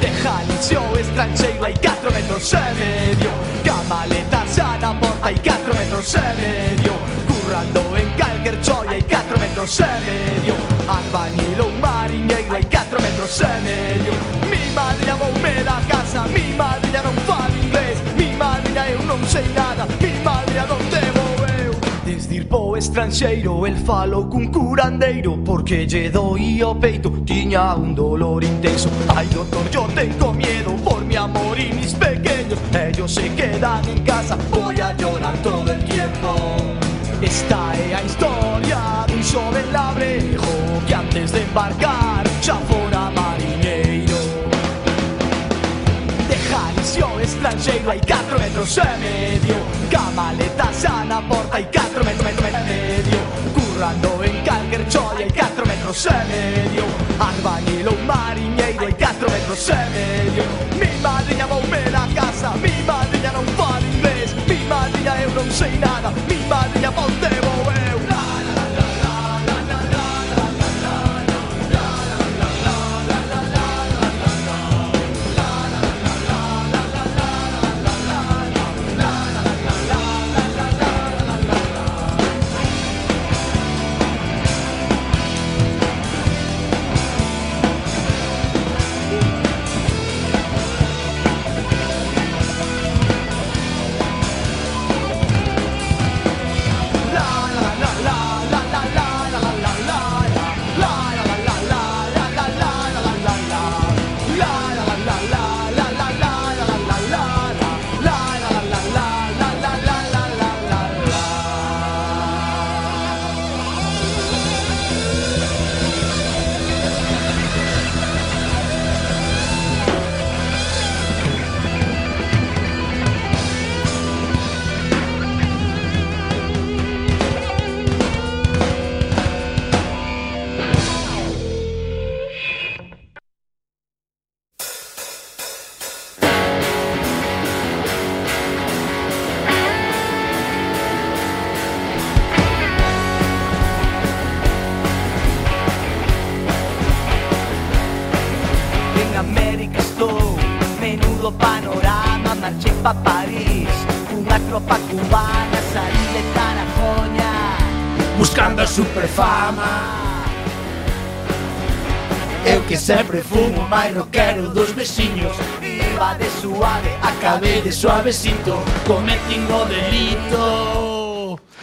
Speaker 15: Deja liceo estranxeiro hai 4 metros e medio Camaleta xa na porta hai 4 metros e medio Currando en calquer choia hai 4 metros e medio Albañil ou mariñeiro hai 4 metros e medio Mi madre llamoume da casa, mi madre non tipo estranxeiro El falo cun curandeiro Porque lle doía o peito Tiña un dolor intenso Ai doctor, yo tengo miedo Por mi amor y mis pequeños Ellos se quedan en casa Voy a llorar todo el tiempo Esta é a historia dun xoven labrejo Que antes de embarcar xa fora mariñeiro De Jalisco estranxeiro hai 4 metros e medio Camaleta xa na porta hai 4 metros metro, metro, e medio Currando en Calger Choi hai 4 metros e medio Albañil ou mariñeiro hai 4 metros e medio Mi madriña voume da casa Mi madriña non fala inglés Mi madriña eu non sei nada Mi madriña ponte vou eu La, la, la, la, la.
Speaker 16: En América estou, menudo panorama, marchei pa París Cunha tropa cubana, saí de Tarajoña
Speaker 9: Buscando a superfama Eu que sempre fumo máis rockero dos veciños Iba de suave, acabei de suavecito Cometín o delito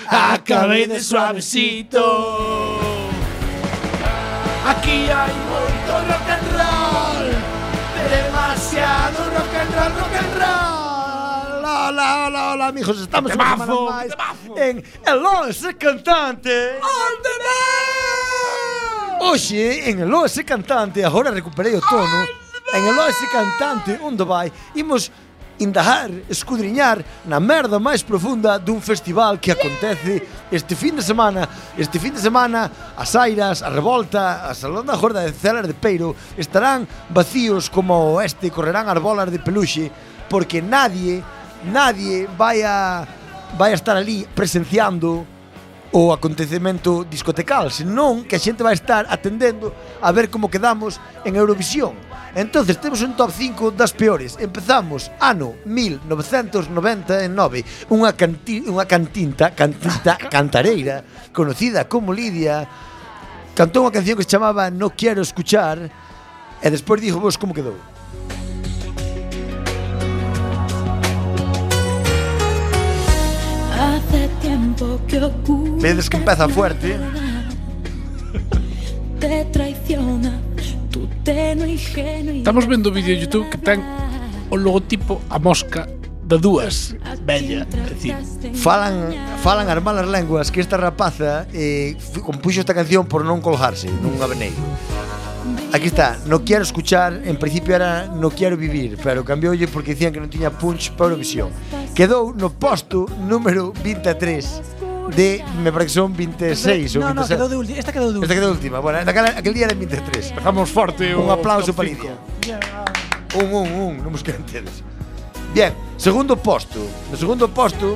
Speaker 9: Acabei de suavecito Aquí hai moito rock and roll Demasiado rock and roll, rock and roll
Speaker 11: Hola, hola, hola, amigos, estamos una semana
Speaker 9: Temazo,
Speaker 11: máis en El Oeste Cantante. Hoxe, en El Oeste Cantante, agora recuperei o tono, en El Oeste Cantante, onde vai, imos indagar, escudriñar na merda máis profunda dun festival que acontece este fin de semana este fin de semana as Airas, a Revolta, a Salón da Jorda de Celas de Peiro estarán vacíos como o oeste, correrán as bolas de peluxe porque nadie nadie vai a vai a estar ali presenciando o acontecemento discotecal, senón que a xente vai estar atendendo a ver como quedamos en Eurovisión. Entonces temos un top 5 das peores. Empezamos ano 1999, unha canti, unha cantinta, cantinta, cantareira conocida como Lidia, cantou unha canción que se chamaba No quero escuchar e despois dixo vos como quedou.
Speaker 12: Hace tiempo que ocurre.
Speaker 11: Vedes que empeza fuerte.
Speaker 12: Te traiciona tu tenue ingenuidad.
Speaker 10: Estamos vendo o vídeo de YouTube que ten o logotipo a mosca da dúas. Bella, é dicir,
Speaker 11: Falan falan as malas lenguas que esta rapaza eh, f- compuxo esta canción por non colgarse nun aveneiro. Aquí está, no quero escuchar, en principio era no quero vivir, pero cambioulle porque dicían que non tiña punch para Eurovisión. Quedou no posto número 23 de, me parece que son 26
Speaker 8: No,
Speaker 11: ou 27.
Speaker 8: no, quedou de última. Esta quedou de última.
Speaker 11: Esta quedou última. Bueno, naquela, aquel día era en 23.
Speaker 10: Dejamos fuerte o
Speaker 11: Un aplauso
Speaker 10: top
Speaker 11: para
Speaker 10: cinco.
Speaker 11: Lidia. Un, un, un. Non mos quedan tedes. Bien, segundo posto. No segundo posto...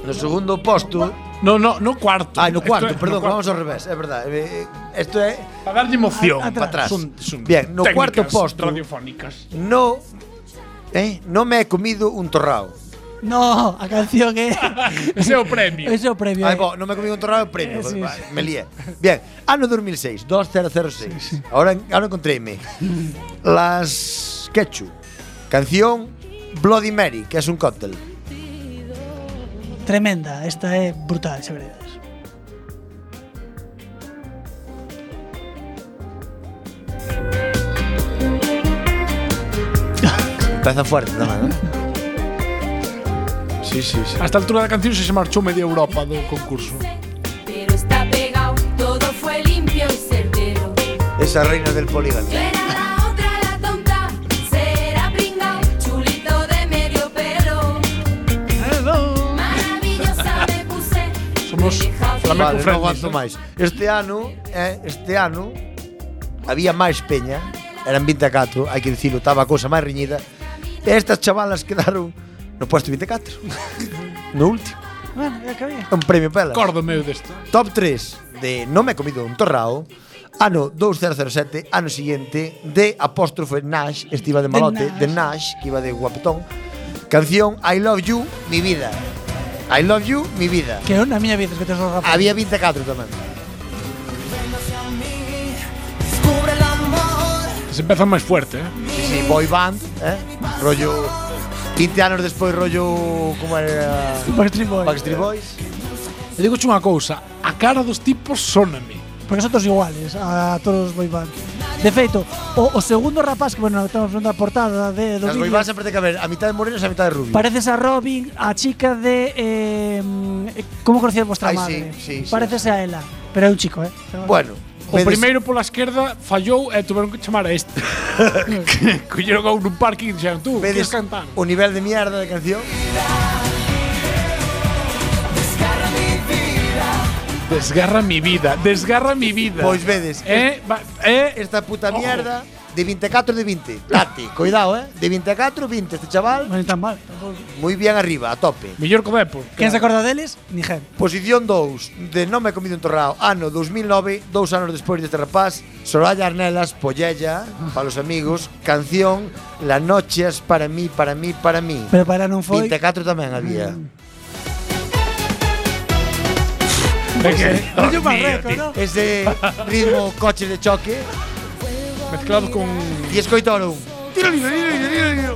Speaker 11: No segundo posto...
Speaker 10: No, no, no cuarto.
Speaker 11: Ai, Ah, no
Speaker 10: Esto
Speaker 11: cuarto,
Speaker 10: é- no
Speaker 11: perdón,
Speaker 10: cuarto.
Speaker 11: vamos ao revés, é verdade. Eh, Esto é...
Speaker 10: Para darlle emoción.
Speaker 11: Para atrás.
Speaker 10: Son- son
Speaker 11: Bien, no
Speaker 10: técnicas
Speaker 11: cuarto posto...
Speaker 10: radiofónicas.
Speaker 11: No... Eh, no me he comido un torrao.
Speaker 8: No, a canción é
Speaker 10: Ese é o premio.
Speaker 8: Ese é o premio. eh.
Speaker 11: Ai, bo, non me comido un torrado de premio,
Speaker 8: Eh, sí,
Speaker 11: va,
Speaker 8: sí.
Speaker 11: me lié. Bien, ano 2006, 2006. Ahora, ahora encontréme. Las Ketchup. Canción Bloody Mary, que es un cóctel.
Speaker 8: tremenda, esta é brutal, xa veredes.
Speaker 11: Empeza fuerte tamén, eh?
Speaker 10: Sí, sí, sí. A esta altura da canción xa se marchou media Europa do concurso.
Speaker 17: Pero está pegado, todo fue limpio y certero.
Speaker 11: Esa reina del polígono.
Speaker 17: Yo era la otra, la tonta, será pringa, chulito de medio pelo. Maravillosa me puse.
Speaker 11: Somos
Speaker 17: flamenco
Speaker 11: vale, non
Speaker 17: friendly.
Speaker 11: aguanto máis. Este ano, eh, este ano había máis peña, eran 24, hai que dicilo, estaba a cousa máis riñida. E estas chavalas quedaron no puesto 24. no último,
Speaker 8: Bueno, é o que había.
Speaker 11: un premio pelas.
Speaker 10: Acordo meu deste.
Speaker 11: Top 3 de No me he comido un torrao. Ano 2007, ano siguiente, de apóstrofe Nash, este iba de malote, de Nash, que iba de guapetón. Canción I Love You, mi vida. I Love You, mi vida.
Speaker 8: Que é na miña vida, que tes razón.
Speaker 11: Había 24 tamén.
Speaker 17: Descubre el amor.
Speaker 10: Se empezan máis fuerte, eh?
Speaker 11: Sí, sí, boy band, eh? Rollo 20 anos despois rollo como era
Speaker 8: Backstreet Boys.
Speaker 11: Backstreet Boys.
Speaker 10: E digo unha cousa, a cara dos tipos soname.
Speaker 8: Porque son todos Pues iguales a todos os boy band. De feito, o, o segundo rapaz que, bueno, estamos vendo a portada de, do
Speaker 11: Las boy
Speaker 8: vídeo,
Speaker 11: bands sempre ten que haber a mitad de morenos e a mitad de rubios.
Speaker 8: Pareces a Robin, a chica de. Eh, ¿Cómo conocía vuestra
Speaker 11: Ay,
Speaker 8: madre?
Speaker 11: sí, sí, sí.
Speaker 8: Pareces a ela. Pero é un chico, ¿eh?
Speaker 11: Bueno,
Speaker 10: O primeiro pola esquerda fallou e tuveron que chamar a este. Colleron a un nun parking e dixeron tú, queres
Speaker 11: Vedes
Speaker 10: cantar?
Speaker 11: o nivel de mierda de canción.
Speaker 10: Desgarra mi vida, desgarra mi vida.
Speaker 11: Pois vedes.
Speaker 10: Eh,
Speaker 11: esta puta mierda de 24 de 20. Date, cuidado, eh. De 24 20 este chaval.
Speaker 8: No tan mal.
Speaker 11: Muy bien arriba, a tope.
Speaker 10: Mellor co Depor.
Speaker 8: Quen se acorda deles? Niger.
Speaker 11: Posición 2 de No me he comido un torrao, ano 2009, dous anos despois deste rapaz, Soraya Arnelas, Pollella, para os amigos, canción La noche es para mí, para mí, para mí.
Speaker 8: Pero para non foi.
Speaker 11: 24 tamén había.
Speaker 8: Mm.
Speaker 10: É que-
Speaker 11: rollo barreco, ¿no? Ese ritmo coche de choque.
Speaker 10: Mezclado con...
Speaker 11: E escoitaron. Tiro, tiro, tiro, tiro, tiro, tiro.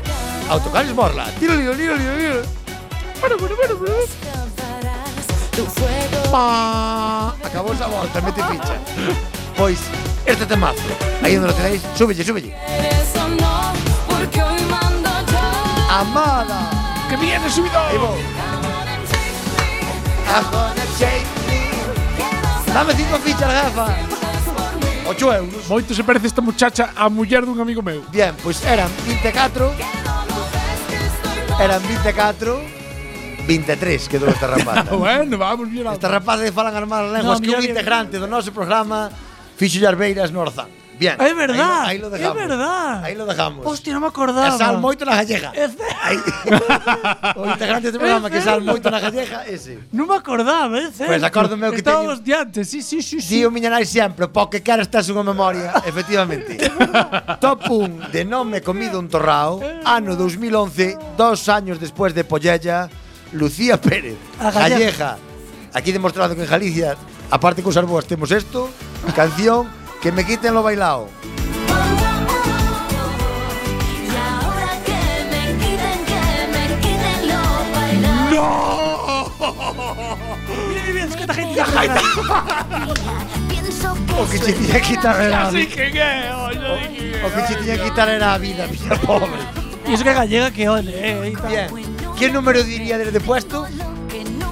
Speaker 11: Autocares Morla. Tiro, tiro, tiro, tiro, tiro.
Speaker 17: Bueno, bueno, bueno, bueno. Tu fuego.
Speaker 11: Pa. Acabou esa volta, mete ficha. Pois, este temazo. Aí onde lo tenéis, súbelle, súbelle.
Speaker 17: Eres o no, porque hoy mando yo.
Speaker 11: Amada.
Speaker 10: Que viene subido.
Speaker 11: I'm gonna shake me. Dame cinco fichas, gafa. 8 euros.
Speaker 10: Moito se parece esta muchacha a muller dun amigo meu.
Speaker 11: Bien, pois eran 24. Eran 24. 23 quedou esta rapaz.
Speaker 10: bueno, vamos bien.
Speaker 11: Esta rapaz de falan armar
Speaker 10: No,
Speaker 11: lenguas que un
Speaker 10: mira,
Speaker 11: integrante do noso programa fixo Arbeiras no Orzán. Bien.
Speaker 8: É verdad,
Speaker 11: Aí lo, aí lo
Speaker 8: é
Speaker 11: dejamos.
Speaker 8: verdad.
Speaker 11: Aí lo dejamos.
Speaker 8: Hostia, non me acordaba.
Speaker 11: E sal moito na gallega. Aí. o integrante do programa que sal
Speaker 8: certo.
Speaker 11: moito na gallega, ese.
Speaker 8: Non me acordaba,
Speaker 13: eh,
Speaker 8: é certo.
Speaker 11: Pois acórdome que teño-
Speaker 8: Estábamos diante, sí, sí, sí, sí.
Speaker 11: Dio miña nai sempre, po que cara estás unha memoria, efectivamente. Top 1 de Non me comido un torrao, ano 2011, dos años despois de Pollella, Lucía Pérez,
Speaker 8: A
Speaker 11: galleja.
Speaker 8: gallega.
Speaker 11: Aquí demostrado que en Galicia, aparte que usar boas, temos esto, canción que me quiten lo bailao.
Speaker 17: Y ahora que me quiten, que me quiten lo bailado.
Speaker 8: Mira que bien, es que esta gente
Speaker 17: La
Speaker 8: ya
Speaker 17: gaita.
Speaker 11: Pienso que se tiña que quitar era a vida. O que se tiña que quitar era a vida, miña pobre.
Speaker 8: E iso que é gallega que ole, eh.
Speaker 11: Bien. Que número diría desde puesto?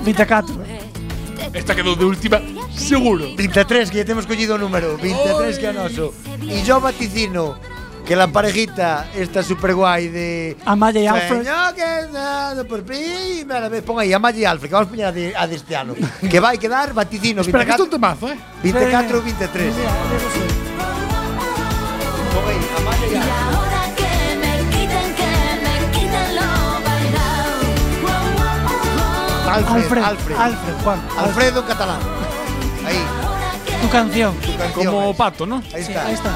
Speaker 8: 24.
Speaker 10: Esta quedou de última, seguro.
Speaker 11: 23, que ya tenemos collido o número. 23 que é noso. E yo vaticino que la parejita esta super guai de...
Speaker 8: Amaya e Alfred.
Speaker 11: Señor, que nada por primera vez. Pon aí, Amaya e Alfred, que vamos poñer a, de, a deste ano. que vai quedar vaticino.
Speaker 10: Espera, que isto é
Speaker 11: 24,
Speaker 10: un temazo, eh?
Speaker 11: 24 23.
Speaker 17: Y ahora que me quiten, que me quiten lo bailado.
Speaker 11: Alfred, Alfred.
Speaker 8: Alfred, Juan.
Speaker 11: Alfredo Catalán. Ahí.
Speaker 8: Tu canción.
Speaker 10: Como pato, ¿no?
Speaker 11: Ahí está.
Speaker 8: ahí está.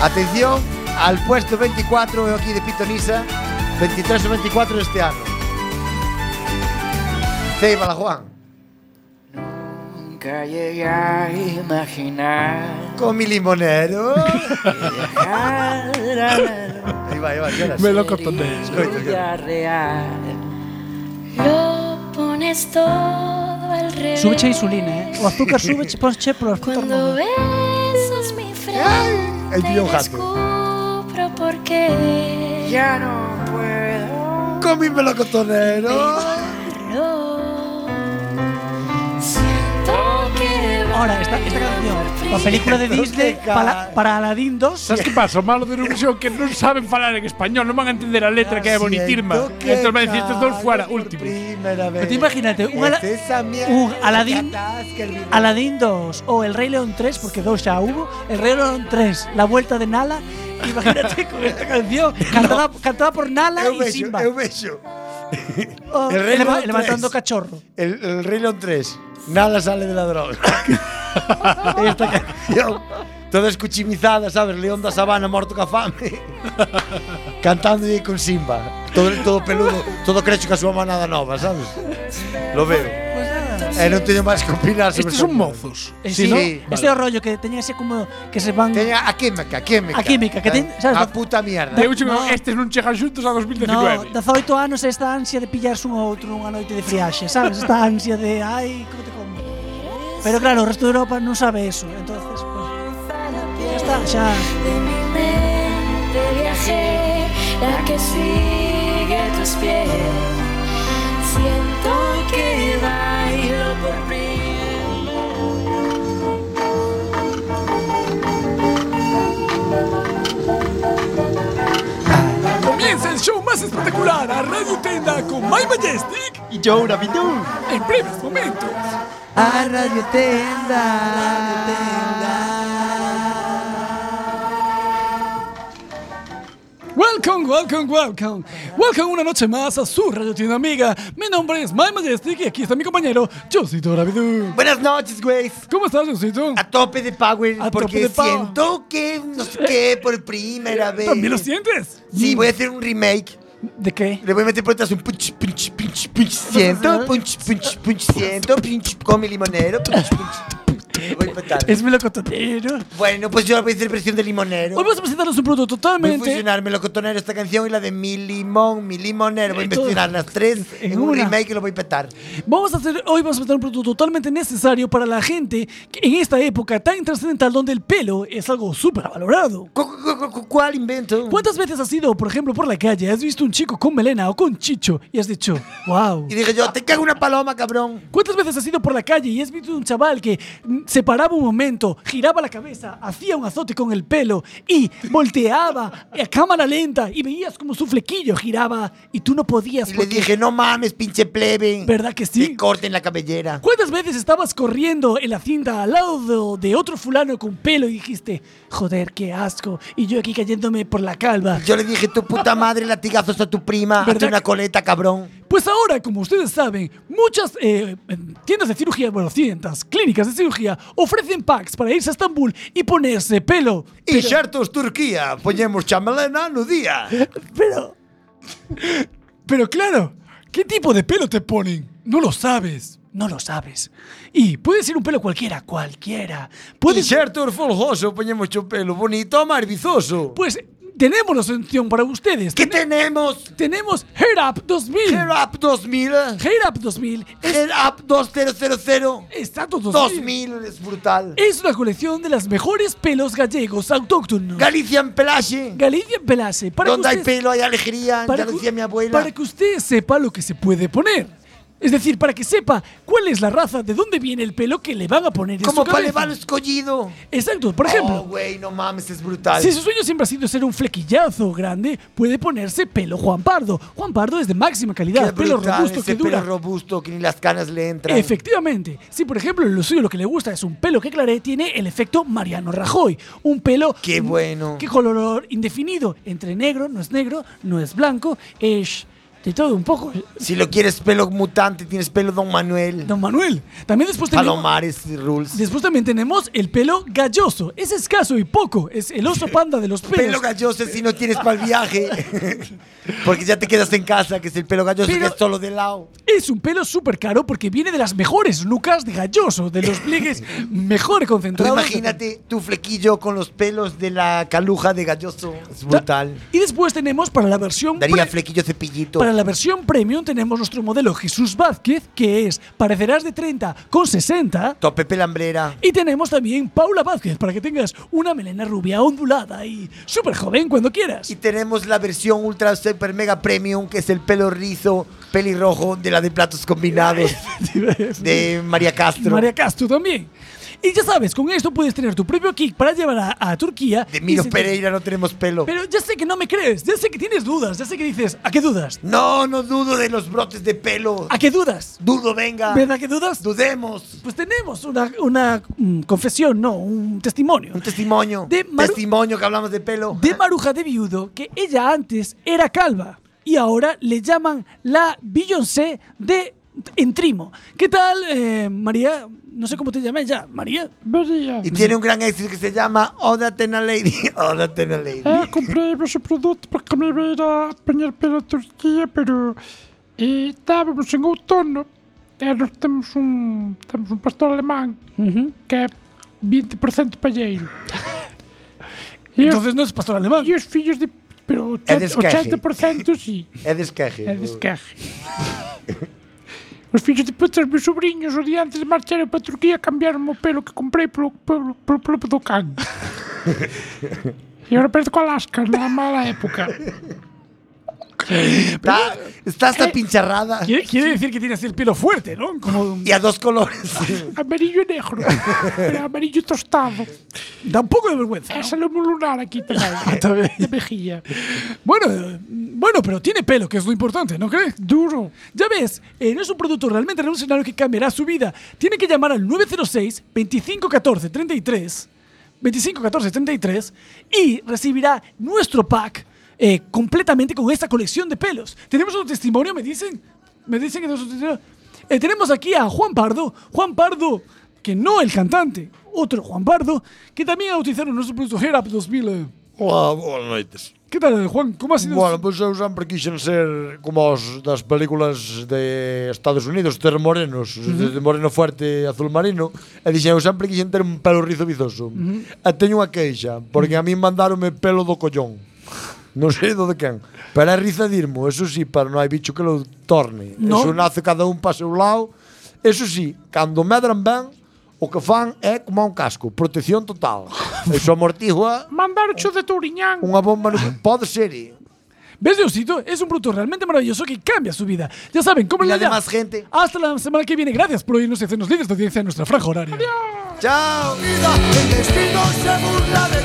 Speaker 11: Atención al puesto 24, veo aquí de Pitonisa, 23 o 24 de este año. Ceiba la Juan.
Speaker 18: Nunca llegué a imaginar
Speaker 11: Con mi limonero.
Speaker 18: Ahí
Speaker 11: va, ahí va,
Speaker 18: lloras.
Speaker 10: Me lo conté.
Speaker 18: Escoita, real
Speaker 17: Lo pone
Speaker 19: es todo al revés.
Speaker 8: Súbeche a insulina, eh. O azúcar sube, ponche por azúcar.
Speaker 19: Cuando besas mi frente
Speaker 8: Ahí pilló un
Speaker 19: y
Speaker 8: jaque.
Speaker 19: descubro por qué. Ya no puedo.
Speaker 11: Con mi melocotonero.
Speaker 8: Ahora, esta, esta canción, la película de Disney para, para Aladdin 2.
Speaker 10: Sabes que pasa? O malo de Eurovisión que non saben falar en español, non van a entender a letra que é bonitirma.
Speaker 8: Siento que
Speaker 10: Entón van a decir, estes dos fuera, último.
Speaker 8: Pero tú imagínate, un, Ala- un Aladdin, Aladdin 2 o El Rey León 3, porque 2 ya hubo, El Rey León 3, La Vuelta de Nala, imagínate con esta canción, cantada, cantada por Nala
Speaker 11: Eu
Speaker 8: y
Speaker 11: vexo,
Speaker 8: Simba.
Speaker 11: eu vexo.
Speaker 8: O
Speaker 11: El Rei
Speaker 8: eleva-
Speaker 11: León
Speaker 8: levantando
Speaker 11: 3.
Speaker 8: cachorro.
Speaker 11: El, el Rey León 3. Nada sale de la droga. Esta canción. Toda escuchimizada, ¿sabes? León da Sabana, muerto ca fame. Cantando y con Simba. Todo, todo peludo, todo crecho que a súa manada nova, ¿sabes? Lo veo. Eh, no tengo más que opinar sobre
Speaker 10: Estes
Speaker 11: esa
Speaker 10: son
Speaker 11: canción.
Speaker 10: mozos.
Speaker 8: Eh,
Speaker 11: Sí,
Speaker 8: sí, ¿no?
Speaker 11: sí.
Speaker 8: Este é o rollo que tenía ese como que se van
Speaker 11: Tenía a química, a química.
Speaker 10: ¿Eh?
Speaker 8: A química, que ten, sabes,
Speaker 10: Ah,
Speaker 11: a puta mierda.
Speaker 10: Eu che estes
Speaker 11: este.
Speaker 10: non chegan xuntos a
Speaker 8: No,
Speaker 10: 2019.
Speaker 8: 18 anos e esta ansia de pillarse un outro nunha noite de friaxe, sabes? Esta ansia de, ai, como te como. Pero claro, o resto de Europa non sabe eso, entonces, pues, ya está, xa.
Speaker 19: De viaje, la que sigue tus pies. Siento que bailo por primera
Speaker 15: Comienza el show más espectacular a Radio Tenda con My Majestic y Joe Rabidu. En breves momentos.
Speaker 11: A Radio Tenda.
Speaker 13: Welcome, welcome, welcome. Welcome una noche más a su radio tienda amiga. Mi nombre es My Majestic y aquí está mi compañero Josito Rabidu.
Speaker 11: Buenas noches, güey.
Speaker 13: ¿Cómo estás, Josito?
Speaker 11: A tope de power,
Speaker 13: a
Speaker 11: porque
Speaker 13: tope de power.
Speaker 11: siento que no sé qué por primera vez.
Speaker 13: ¿También lo sientes?
Speaker 11: Sí, voy a hacer un remake.
Speaker 8: ¿De qué?
Speaker 11: Le voy a meter por detrás un punch, punch, punch, punch, siento, punch, punch, punch, siento, punch, con mi limonero, punch, punch. Voy fatal.
Speaker 8: Es melocotonero.
Speaker 11: Bueno, pues yo voy a hacer versión de limonero.
Speaker 13: Hoy vamos a presentarnos un producto
Speaker 11: Voy a
Speaker 13: totalmente.
Speaker 11: fusionar melocotonero esta canción y la de mi limón, mi limonero. Voy a
Speaker 13: Entonces,
Speaker 11: fusionar las tres
Speaker 13: en
Speaker 11: en un
Speaker 13: una.
Speaker 11: remake y lo voy a petar.
Speaker 13: Vamos a hacer, hoy vamos a presentar un producto totalmente necesario para la gente que en esta época tan trascendental donde el pelo es algo súper valorado.
Speaker 11: ¿Cuál invento?
Speaker 13: ¿Cuántas veces has ido, por ejemplo, por la calle, has visto un chico con melena o con chicho y has dicho, Ah, wow?
Speaker 11: Y dije yo, te cago una paloma, cabrón.
Speaker 13: ¿Cuántas veces has ido por la calle y has visto un chaval que mm, se paraba un momento, giraba la cabeza, hacía un azote con el pelo y volteaba a cámara lenta y veías como su flequillo giraba y tú no podías?
Speaker 11: Y le
Speaker 13: porque-
Speaker 11: dije, no mames, pinche plebe.
Speaker 13: ¿Verdad que sí?
Speaker 11: Que corten la cabellera.
Speaker 13: ¿Cuántas veces estabas corriendo en la cinta al lado de de otro fulano con pelo y dijiste, joder, qué asco? Y yo aquí cayéndome por la calva.
Speaker 11: Yo le dije, tu puta madre, latigazos a tu prima, hazte
Speaker 13: ¿Verdad
Speaker 11: una
Speaker 13: que-
Speaker 11: coleta, cabrón.
Speaker 13: Pues ahora, como ustedes saben, muchas eh, tiendas de cirugía, bueno, cientas, clínicas de cirugía, ofrecen packs para irse a Estambul y ponerse pelo.
Speaker 11: Y Xertos, Turquía, ponemos chamelena no día.
Speaker 13: Pero. Pero claro, ¿qué tipo de pelo te ponen? No lo sabes. No lo sabes. Y puede ser un pelo cualquiera, cualquiera. Puede ser.
Speaker 11: Xertos folgoso, ponemos un pelo bonito, marvizoso.
Speaker 13: Pues tenemos la solución para ustedes.
Speaker 11: ¿Qué tenemos?
Speaker 13: Tenemos Hair Up 2000.
Speaker 11: Hair Up 2000.
Speaker 13: Hair Up 2000. es-
Speaker 11: Head Up 2000.
Speaker 13: Exacto, 2000.
Speaker 11: 2000 es brutal.
Speaker 13: Es una colección de las mejores pelos gallegos autóctonos.
Speaker 11: Galician Pelage.
Speaker 13: Galicia en Pelase. Para
Speaker 11: Donde
Speaker 13: que
Speaker 11: hay
Speaker 13: ustedes-
Speaker 11: pelo hay alegría,
Speaker 13: para
Speaker 11: ya
Speaker 13: que-
Speaker 11: lo decía mi abuela.
Speaker 13: Para que usted sepa lo que se puede poner. Es decir, para que sepa cuál es la raza, de dónde viene el pelo que le van a poner en
Speaker 11: Como
Speaker 13: su
Speaker 11: para
Speaker 13: cabeza.
Speaker 11: llevarlo escollido.
Speaker 13: Exacto, por
Speaker 11: Oh,
Speaker 13: ejemplo,
Speaker 11: güey, no mames, es brutal.
Speaker 13: si su sueño siempre ha sido ser un flequillazo grande, puede ponerse pelo Juan Pardo. Juan Pardo es de máxima calidad,
Speaker 11: Qué
Speaker 13: pelo
Speaker 11: brutal,
Speaker 13: robusto
Speaker 11: ese
Speaker 13: que dura.
Speaker 11: pelo robusto que ni las canas le entran.
Speaker 13: Efectivamente. Si, por ejemplo, lo suyo lo que le gusta es un pelo que aclaré, tiene el efecto Mariano Rajoy. Un pelo.
Speaker 11: Qué bueno.
Speaker 13: Que color indefinido. Entre negro, no es negro, no es blanco, es. De todo un poco.
Speaker 11: Si lo quieres pelo mutante, tienes pelo Don Manuel.
Speaker 13: Don Manuel. También después tenemos.
Speaker 11: Palomares y Rules.
Speaker 13: Después también tenemos el pelo galloso. Es escaso y poco. Es el oso panda de los pelos.
Speaker 11: Pelo galloso si no tienes para el viaje. Porque ya te quedas en casa, que es el pelo galloso que
Speaker 13: Pero-
Speaker 11: es solo de lado.
Speaker 13: Es un pelo súper caro porque viene de las mejores nucas de galloso, de los pliegues mejor
Speaker 11: Tú
Speaker 13: concentrados.
Speaker 11: imagínate tu flequillo con los pelos de la caluja de galloso. Es brutal.
Speaker 13: Y después tenemos para la versión
Speaker 11: Daría
Speaker 13: pre-
Speaker 11: flequillo cepillito.
Speaker 13: Para Para la versión premium tenemos nuestro modelo Jesús Vázquez, que es Parecerás de 30 con 60.
Speaker 20: Tope pelambrera.
Speaker 13: Y tenemos también Paula Vázquez, para que tengas una melena rubia ondulada y súper joven cuando quieras.
Speaker 20: Y tenemos la versión ultra super mega premium, que es el pelo rizo, pelirrojo de la de platos combinados de María Castro.
Speaker 13: María Castro también. Y ya sabes, con esto puedes tener tu propio kick para llevar a, a Turquía.
Speaker 20: De Miro
Speaker 13: y sentir-
Speaker 20: Pereira no tenemos pelo.
Speaker 13: Pero ya sé que no me crees, ya sé que tienes dudas, ya sé que dices, ¿a qué dudas?
Speaker 20: No, no dudo de los brotes de pelo.
Speaker 13: ¿A qué dudas?
Speaker 20: Dudo, venga.
Speaker 13: ¿Verdad que dudas?
Speaker 20: Dudemos.
Speaker 13: Pues tenemos una, una, mm, confesión, no, un testimonio. Un
Speaker 20: testimonio.
Speaker 13: De
Speaker 20: testimonio que hablamos de pelo.
Speaker 13: De Maruja de Viudo, que ella antes era calva y ahora le llaman la Beyoncé de Entrimo. ¿Qué tal, eh, María? No sé cómo te llamé ya. María.
Speaker 20: Y tiene un gran éxito que se llama Oda Tena Lady. Oda Tena Lady.
Speaker 10: Eh, comprei vosso produto porque me veio a apanhar pela Turquia, pero eh, estávamos em outono. E nós temos um, temos um pastor alemão que é 20% palheiro.
Speaker 13: Entonces no es pastor alemán.
Speaker 10: E os filhos de. Pero
Speaker 20: É
Speaker 10: 80%,
Speaker 20: de esquerda.
Speaker 10: 80% sim.
Speaker 20: É de esquerda.
Speaker 10: É de esquerda. Os filhos de putas, meus sobrinhos, o dia antes de marcharem para a Turquia, cambiaram o pelo que comprei pelo, pelo, pelo, pelo do cão. E agora perto com a Alaska, na mala época.
Speaker 20: Está, está hasta pincharrada.
Speaker 13: Quiere, quiere decir que tienes el pelo fuerte, ¿no? Como
Speaker 20: Y a dos colores.
Speaker 10: Amarillo y negro. Pero amarillo tostado.
Speaker 13: Da un poco de vergüenza.
Speaker 10: Es el humo lunar aquí también. de mejilla.
Speaker 13: Bueno, eh, bueno, pero tiene pelo, que es lo importante, ¿no crees?
Speaker 10: Duro.
Speaker 13: Ya ves, eh, no es un producto realmente revolucionario que cambiará su vida. Tiene que llamar al 906 2514 33 2514 33 y recibirá nuestro pack eh, completamente con esta colección de pelos. Tenemos un testimonio, me dicen. Me dicen que tenemos un testimonio. Eh, tenemos aquí a Juan Pardo. Juan Pardo, que no el cantante, otro Juan Pardo, que también ha utilizado nuestro producto Hair Up 2000. eh,
Speaker 11: Olá, boas noites.
Speaker 13: Que tal, Juan? Como ha sido?
Speaker 11: Bueno, pois eu sempre quixen ser como os das películas de Estados Unidos, ter morenos, de moreno fuerte azul marino, e dixen, eu sempre quixen ter un pelo rizo vizoso.
Speaker 13: Ujú.
Speaker 11: E teño unha queixa, porque a mí mandaronme pelo do collón. Non sei do de quen. Pero é rizadirmo, eso sí, pero non hai bicho que lo torne.
Speaker 13: No.
Speaker 11: Eso nace cada un para seu lado. Eso sí, cando medran ben, o que fan é como un casco, protección total. Eso amortigua
Speaker 10: Mandar cho de Turiñán.
Speaker 11: unha bomba no... Pode ser, eh.
Speaker 13: ¿Ves, Diosito? Es un producto realmente maravilloso que cambia su vida. Ya saben, cómo
Speaker 11: la
Speaker 13: le
Speaker 11: demás
Speaker 13: gente. Hasta la semana que viene. Gracias por oírnos y hacernos líderes de audiencia en nuestra franja horaria.
Speaker 20: Chao.
Speaker 21: El destino se burla de